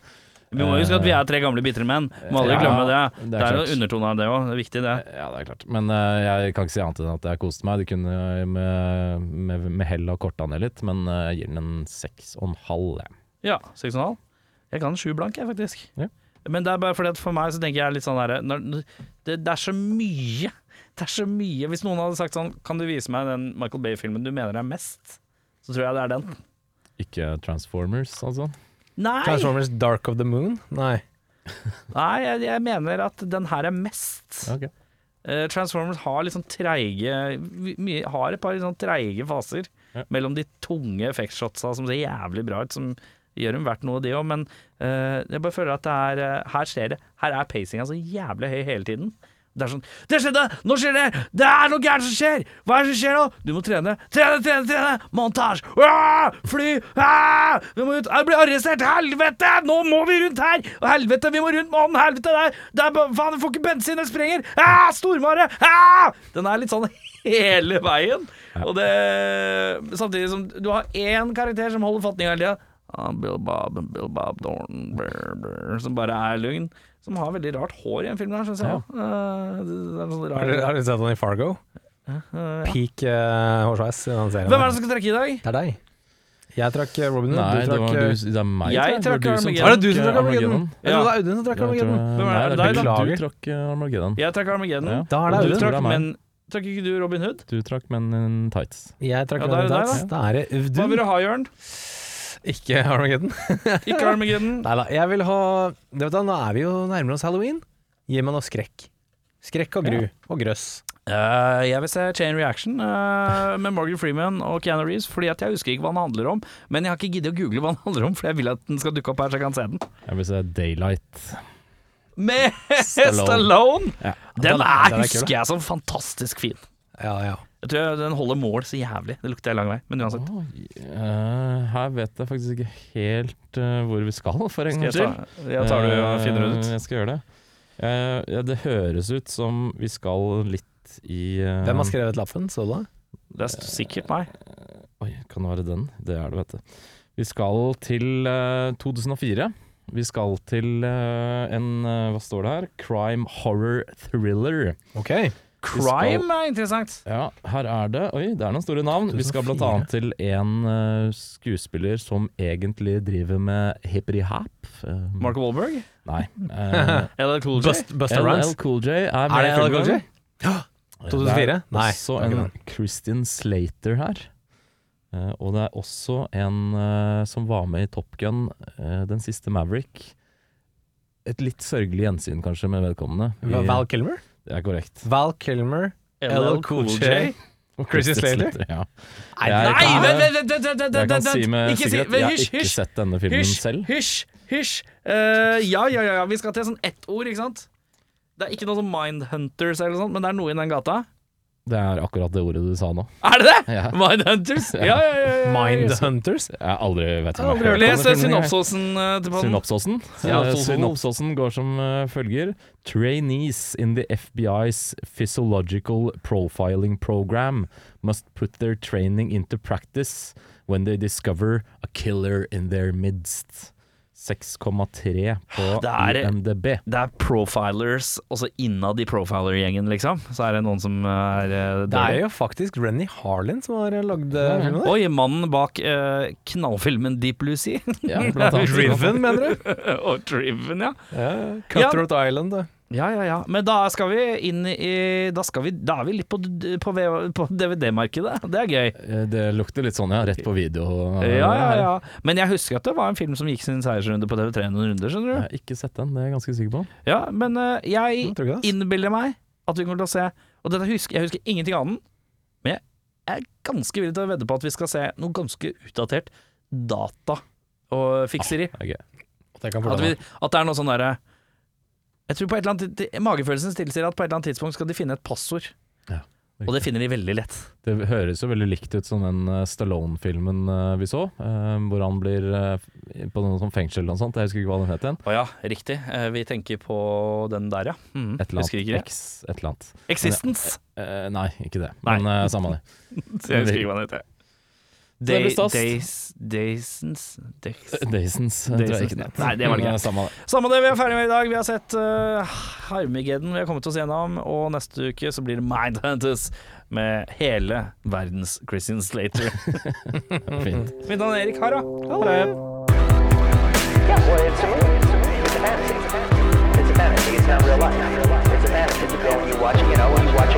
Speaker 1: Vi
Speaker 2: Eh,
Speaker 1: må huske at vi er tre gamle bitre menn. Må aldri
Speaker 3: Ja,
Speaker 1: glemme det.
Speaker 3: det
Speaker 1: Det
Speaker 3: er
Speaker 1: er, jo
Speaker 3: klart.
Speaker 1: undertone av det òg. Det er viktig, det.
Speaker 3: Ja, det er klart. Men eh, jeg kan ikke si annet enn at jeg koste meg. Det kunne jeg med, med, med hell ha korta ned litt, men eh, jeg gir den en seks og en halv. jeg.
Speaker 1: Ja, 6,5. Jeg kan sju blank, jeg, faktisk.
Speaker 3: Ja.
Speaker 1: Men det er bare fordi at for meg så tenker jeg litt sånn derre når- det, det er så mye. Det er så mye. Hvis noen hadde sagt sånn Kan du vise meg den Michael Bay-filmen du mener er mest? Så tror jeg det er den.
Speaker 3: Ikke Transformers, altså.
Speaker 1: Nei!
Speaker 2: Transformers Dark of the Moon? Nei.
Speaker 1: Nei, jeg, jeg mener at den her er mest.
Speaker 3: Ok.
Speaker 1: Eh, Transformers har litt sånn treige vi- mye- Har et par litt sånn treige faser. mellom de tunge effektshotsa som ser jævlig bra ut, som gjør dem verdt noe, de òg, men eh, jeg bare føler at det er eh, Her skjer det. Her er pacinga så jævlig høy hele tiden. Det er sånn Det skjedde! Nå skjer det! Det er noe gærent som skjer! Hva er det som skjer nå? Du må trene. Trene, trene, trene! Montasje! Ah! Fly! Ah! Vi må ut! Jeg blir arrestert! Helvete! Nå må vi rundt her! Helvete, vi må rundt månen! Helvete, der! der faen, jeg får ikke bensin, jeg sprenger! Ah! Stormare! Ah! Den er litt sånn hele veien. Og det Samtidig som du har én karakter som holder fatning hele tida. Ah, Bill Bob, Bill Bob Dorn brr, brr, Som bare er løgn. Som har veldig rart hår i den filmen her, syns jeg. Eh, det, det er sånn
Speaker 2: Har
Speaker 1: rar,
Speaker 2: dere har dere sett han i Fargo? Peak eh, hårsveis i den serien.
Speaker 1: Hvem er det som skal trekke i dag?
Speaker 2: Det er deg. Jeg trakk eh, Robin Hood.
Speaker 3: Nei,
Speaker 2: du
Speaker 3: det,
Speaker 2: trakk
Speaker 3: var,
Speaker 2: eh,
Speaker 3: du, det er meg.
Speaker 1: Jeg
Speaker 3: tror jeg. Det var
Speaker 1: trakk
Speaker 3: du som
Speaker 1: Armageddon.
Speaker 2: Er det du som trakk Armageddon? Jeg trodde det var Audun som trakk Armageddon.
Speaker 3: Armageddon? Jeg tror-
Speaker 1: Hvem er
Speaker 3: Nei,
Speaker 1: det?
Speaker 3: det er
Speaker 1: Deg,
Speaker 3: du-
Speaker 2: da?
Speaker 3: Du trakk eh, Armageddon.
Speaker 1: Jeg trekker Armageddon.
Speaker 3: Ja.
Speaker 2: Da er det
Speaker 1: Og
Speaker 2: Audun.
Speaker 1: du
Speaker 3: tror det
Speaker 1: trakk,
Speaker 3: er meg.
Speaker 1: men trakk ikke du Robin Hood?
Speaker 3: Du trakk menn in tights.
Speaker 2: Jeg trakk
Speaker 1: Ja, da er
Speaker 2: Robin
Speaker 1: det deg,
Speaker 2: Hood. Da er det
Speaker 1: Hva vil
Speaker 2: Audun.
Speaker 1: du ha, Jørn?
Speaker 2: Ikke Armageddon.
Speaker 1: Ikke Armageddon.
Speaker 2: Nei da, jeg vil ha du vet da, Nå er vi jo nærmere oss halloween. Gi meg noe skrekk. Skrekk og gru og grøss.
Speaker 1: Eh, jeg vil se Chain Reaction eh, med Morgan Freeman og Keanu Reeves. Fordi at jeg husker ikke hva den handler om, men jeg har ikke giddet å google hva den handler om, for jeg vil at den skal dukke opp her, så jeg kan se den.
Speaker 3: Jeg vil se Daylight.
Speaker 1: Med
Speaker 3: Stallone.
Speaker 1: Stallone! Den er,
Speaker 2: Den er- den er kul,
Speaker 1: husker jeg som fantastisk fin.
Speaker 2: Ja, ja.
Speaker 1: Jeg tror jeg- den holder mål så jævlig. Det lukter jeg lang vei, men uansett.
Speaker 3: Oi, eh, her vet jeg faktisk ikke helt eh, hvor vi skal, for en
Speaker 1: Skal jeg
Speaker 3: gangs skyld.
Speaker 1: ta, jeg tar det og finner det
Speaker 3: Eh,
Speaker 1: ut.
Speaker 3: Jeg skal gjøre det. Eh, ja, det høres ut som vi skal litt i eh,
Speaker 2: Hvem har skrevet lappen? Så du det?
Speaker 1: Det er sikkert meg.
Speaker 3: Oi, kan det være den? Det er det, vet du. Vi skal til eh, 2004. Vi skal til eh, en eh, Hva står det her? Crime horror thriller.
Speaker 2: Ok.
Speaker 1: Crime er interessant.
Speaker 3: Ja, her er det Oi, det er noen store navn. Vi skal blant
Speaker 2: 2004.
Speaker 3: annet til en eh, skuespiller som egentlig driver med hippity-hap. Eh,
Speaker 1: Mark Wahlberg?
Speaker 3: Nei. eh,
Speaker 1: Eller Cool J?
Speaker 2: Bust, Buster
Speaker 3: LL
Speaker 2: Rhymes.
Speaker 3: Cool J er med
Speaker 2: Er det
Speaker 3: i
Speaker 2: LL Cool
Speaker 3: filmen.
Speaker 2: J? 2004?
Speaker 3: Det
Speaker 2: Nei,
Speaker 3: er også
Speaker 2: det er
Speaker 3: en
Speaker 2: ikke
Speaker 3: Christian Slater her. Eh, og det er også en eh, som var med i Top Gun, eh, den siste Maverick. Et litt sørgelig gjensyn kanskje med vedkommende. Vi-
Speaker 2: Val Val Kilmer?
Speaker 3: det er korrekt.
Speaker 2: Val Kilmer, LL Cool J.
Speaker 3: Og
Speaker 2: Christian Slater?
Speaker 3: ja.
Speaker 2: Nei,
Speaker 3: Jeg
Speaker 1: Nei,
Speaker 3: kan-
Speaker 1: vent, vent, vent, vent, vent,
Speaker 3: Jeg
Speaker 1: vent,
Speaker 3: kan
Speaker 1: vent,
Speaker 3: si med
Speaker 1: Ikke si-
Speaker 3: sikkerhet,
Speaker 1: men
Speaker 3: jeg
Speaker 1: hysj,
Speaker 3: har ikke
Speaker 1: hysj,
Speaker 3: sett denne filmen
Speaker 1: Hysj,
Speaker 3: selv.
Speaker 1: hysj, hysj. Eh, ja, ja, ja, ja, vi skal til sånn ett ord, ikke sant? Det er ikke noe sånn Mindhunters eller noe sånt, men det er noe i den gata.
Speaker 3: Det er akkurat det ordet du sa nå.
Speaker 1: Er det det?
Speaker 3: Ja.
Speaker 1: Mindhunters? Ja, ja, ja. ja, ja.
Speaker 2: Mindhunters?
Speaker 3: Jeg har aldri vet
Speaker 2: Jeg har aldri hørt
Speaker 1: Les
Speaker 2: Kan du finne
Speaker 1: synopsosen eh, til podden.
Speaker 3: Synopsosen.
Speaker 1: Ja,
Speaker 3: Eh,
Speaker 1: så-
Speaker 3: Synopsosen går som eh, følger Trainees in the FBI's physiological profiling program must put their training into practice when they discover a killer in their midst. 6,3 på
Speaker 1: Ah, Det er-
Speaker 3: IMDb.
Speaker 1: Det er profilers, også innad i profiler-gjengen, liksom. Så er det noen som er eh,
Speaker 2: Det er
Speaker 1: dårlig.
Speaker 2: jo faktisk Renny Harlin som har lagd eh, filmen. der.
Speaker 1: Oi, mannen bak eh, knallfilmen Deep Blue Sea
Speaker 3: Ja, blant annet.
Speaker 2: Driven, mener du?
Speaker 1: og Driven, ja.
Speaker 2: Ja, Cutthroat Island. da.
Speaker 1: Ja, ja, ja. Men da skal vi inn i Da, skal vi, da er vi litt på, d- på, V- på DVD-markedet. Det er gøy.
Speaker 3: Eh, Det lukter litt sånn, ja. Rett på video. eh,
Speaker 1: Ja, ja,
Speaker 3: her.
Speaker 1: ja. Men jeg husker at det var en film som gikk sin seiersrunde på TV3 noen runder,
Speaker 3: Jeg
Speaker 1: skjønner du.
Speaker 3: har ikke sett den, det er jeg ganske sikker på.
Speaker 1: Ja, men eh, jeg
Speaker 2: Ja, Tror du ikke det? altså?
Speaker 1: innbiller meg at vi kommer til å se Og dette husker, jeg husker ingenting annet, men jeg er ganske villig til å vedde på at vi skal se noe ganske utdatert data og fikseri.
Speaker 3: Det er gøy.
Speaker 2: Det kan
Speaker 1: At,
Speaker 2: fortelle
Speaker 1: vi,
Speaker 2: meg.
Speaker 1: at det er noe sånn derre Jeg tror på et eller annet tid- Magefølelsen tilsier at på et eller annet tidspunkt skal de finne et passord.
Speaker 3: Ja,
Speaker 1: og det finner de veldig lett.
Speaker 3: Det høres jo veldig likt ut som den eh, Stallone-filmen eh, vi så, eh, hvor han blir eh, på noe sånn fengsel eller noe sånt. Jeg husker ikke hva den het igjen.
Speaker 1: Å ja, riktig. Eh, Vi tenker på den der, ja. Mhm.
Speaker 3: Et eller
Speaker 1: Husker
Speaker 3: annet.
Speaker 1: ikke det.
Speaker 3: X, et eller annet.
Speaker 1: Existence.
Speaker 3: Eh, nei, ikke det.
Speaker 1: Nei.
Speaker 3: Men eh, samme det.
Speaker 1: Jeg husker ikke hva den heter.
Speaker 3: Det blir stas.
Speaker 1: Days, Daysons Days.
Speaker 3: Daysons eh, tror jeg ikke det.
Speaker 1: Nei, det var det ikke.
Speaker 3: Men, eh, Samme det.
Speaker 1: Samme det, vi er ferdig med i dag. Vi har sett uh, Harmigeddon vi har kommet oss gjennom, og neste uke så blir det Mindhunters med hele verdens Christian Slater. Mm,
Speaker 3: Fint.
Speaker 1: Mitt navn er Erik Harra. Ha det.
Speaker 4: Yeah, well, it's a movie. It's a movie. It's a fantasy. It's a fantasy. It's not real life. It's a fantasy. You go and you watch it, you know, and you watch it,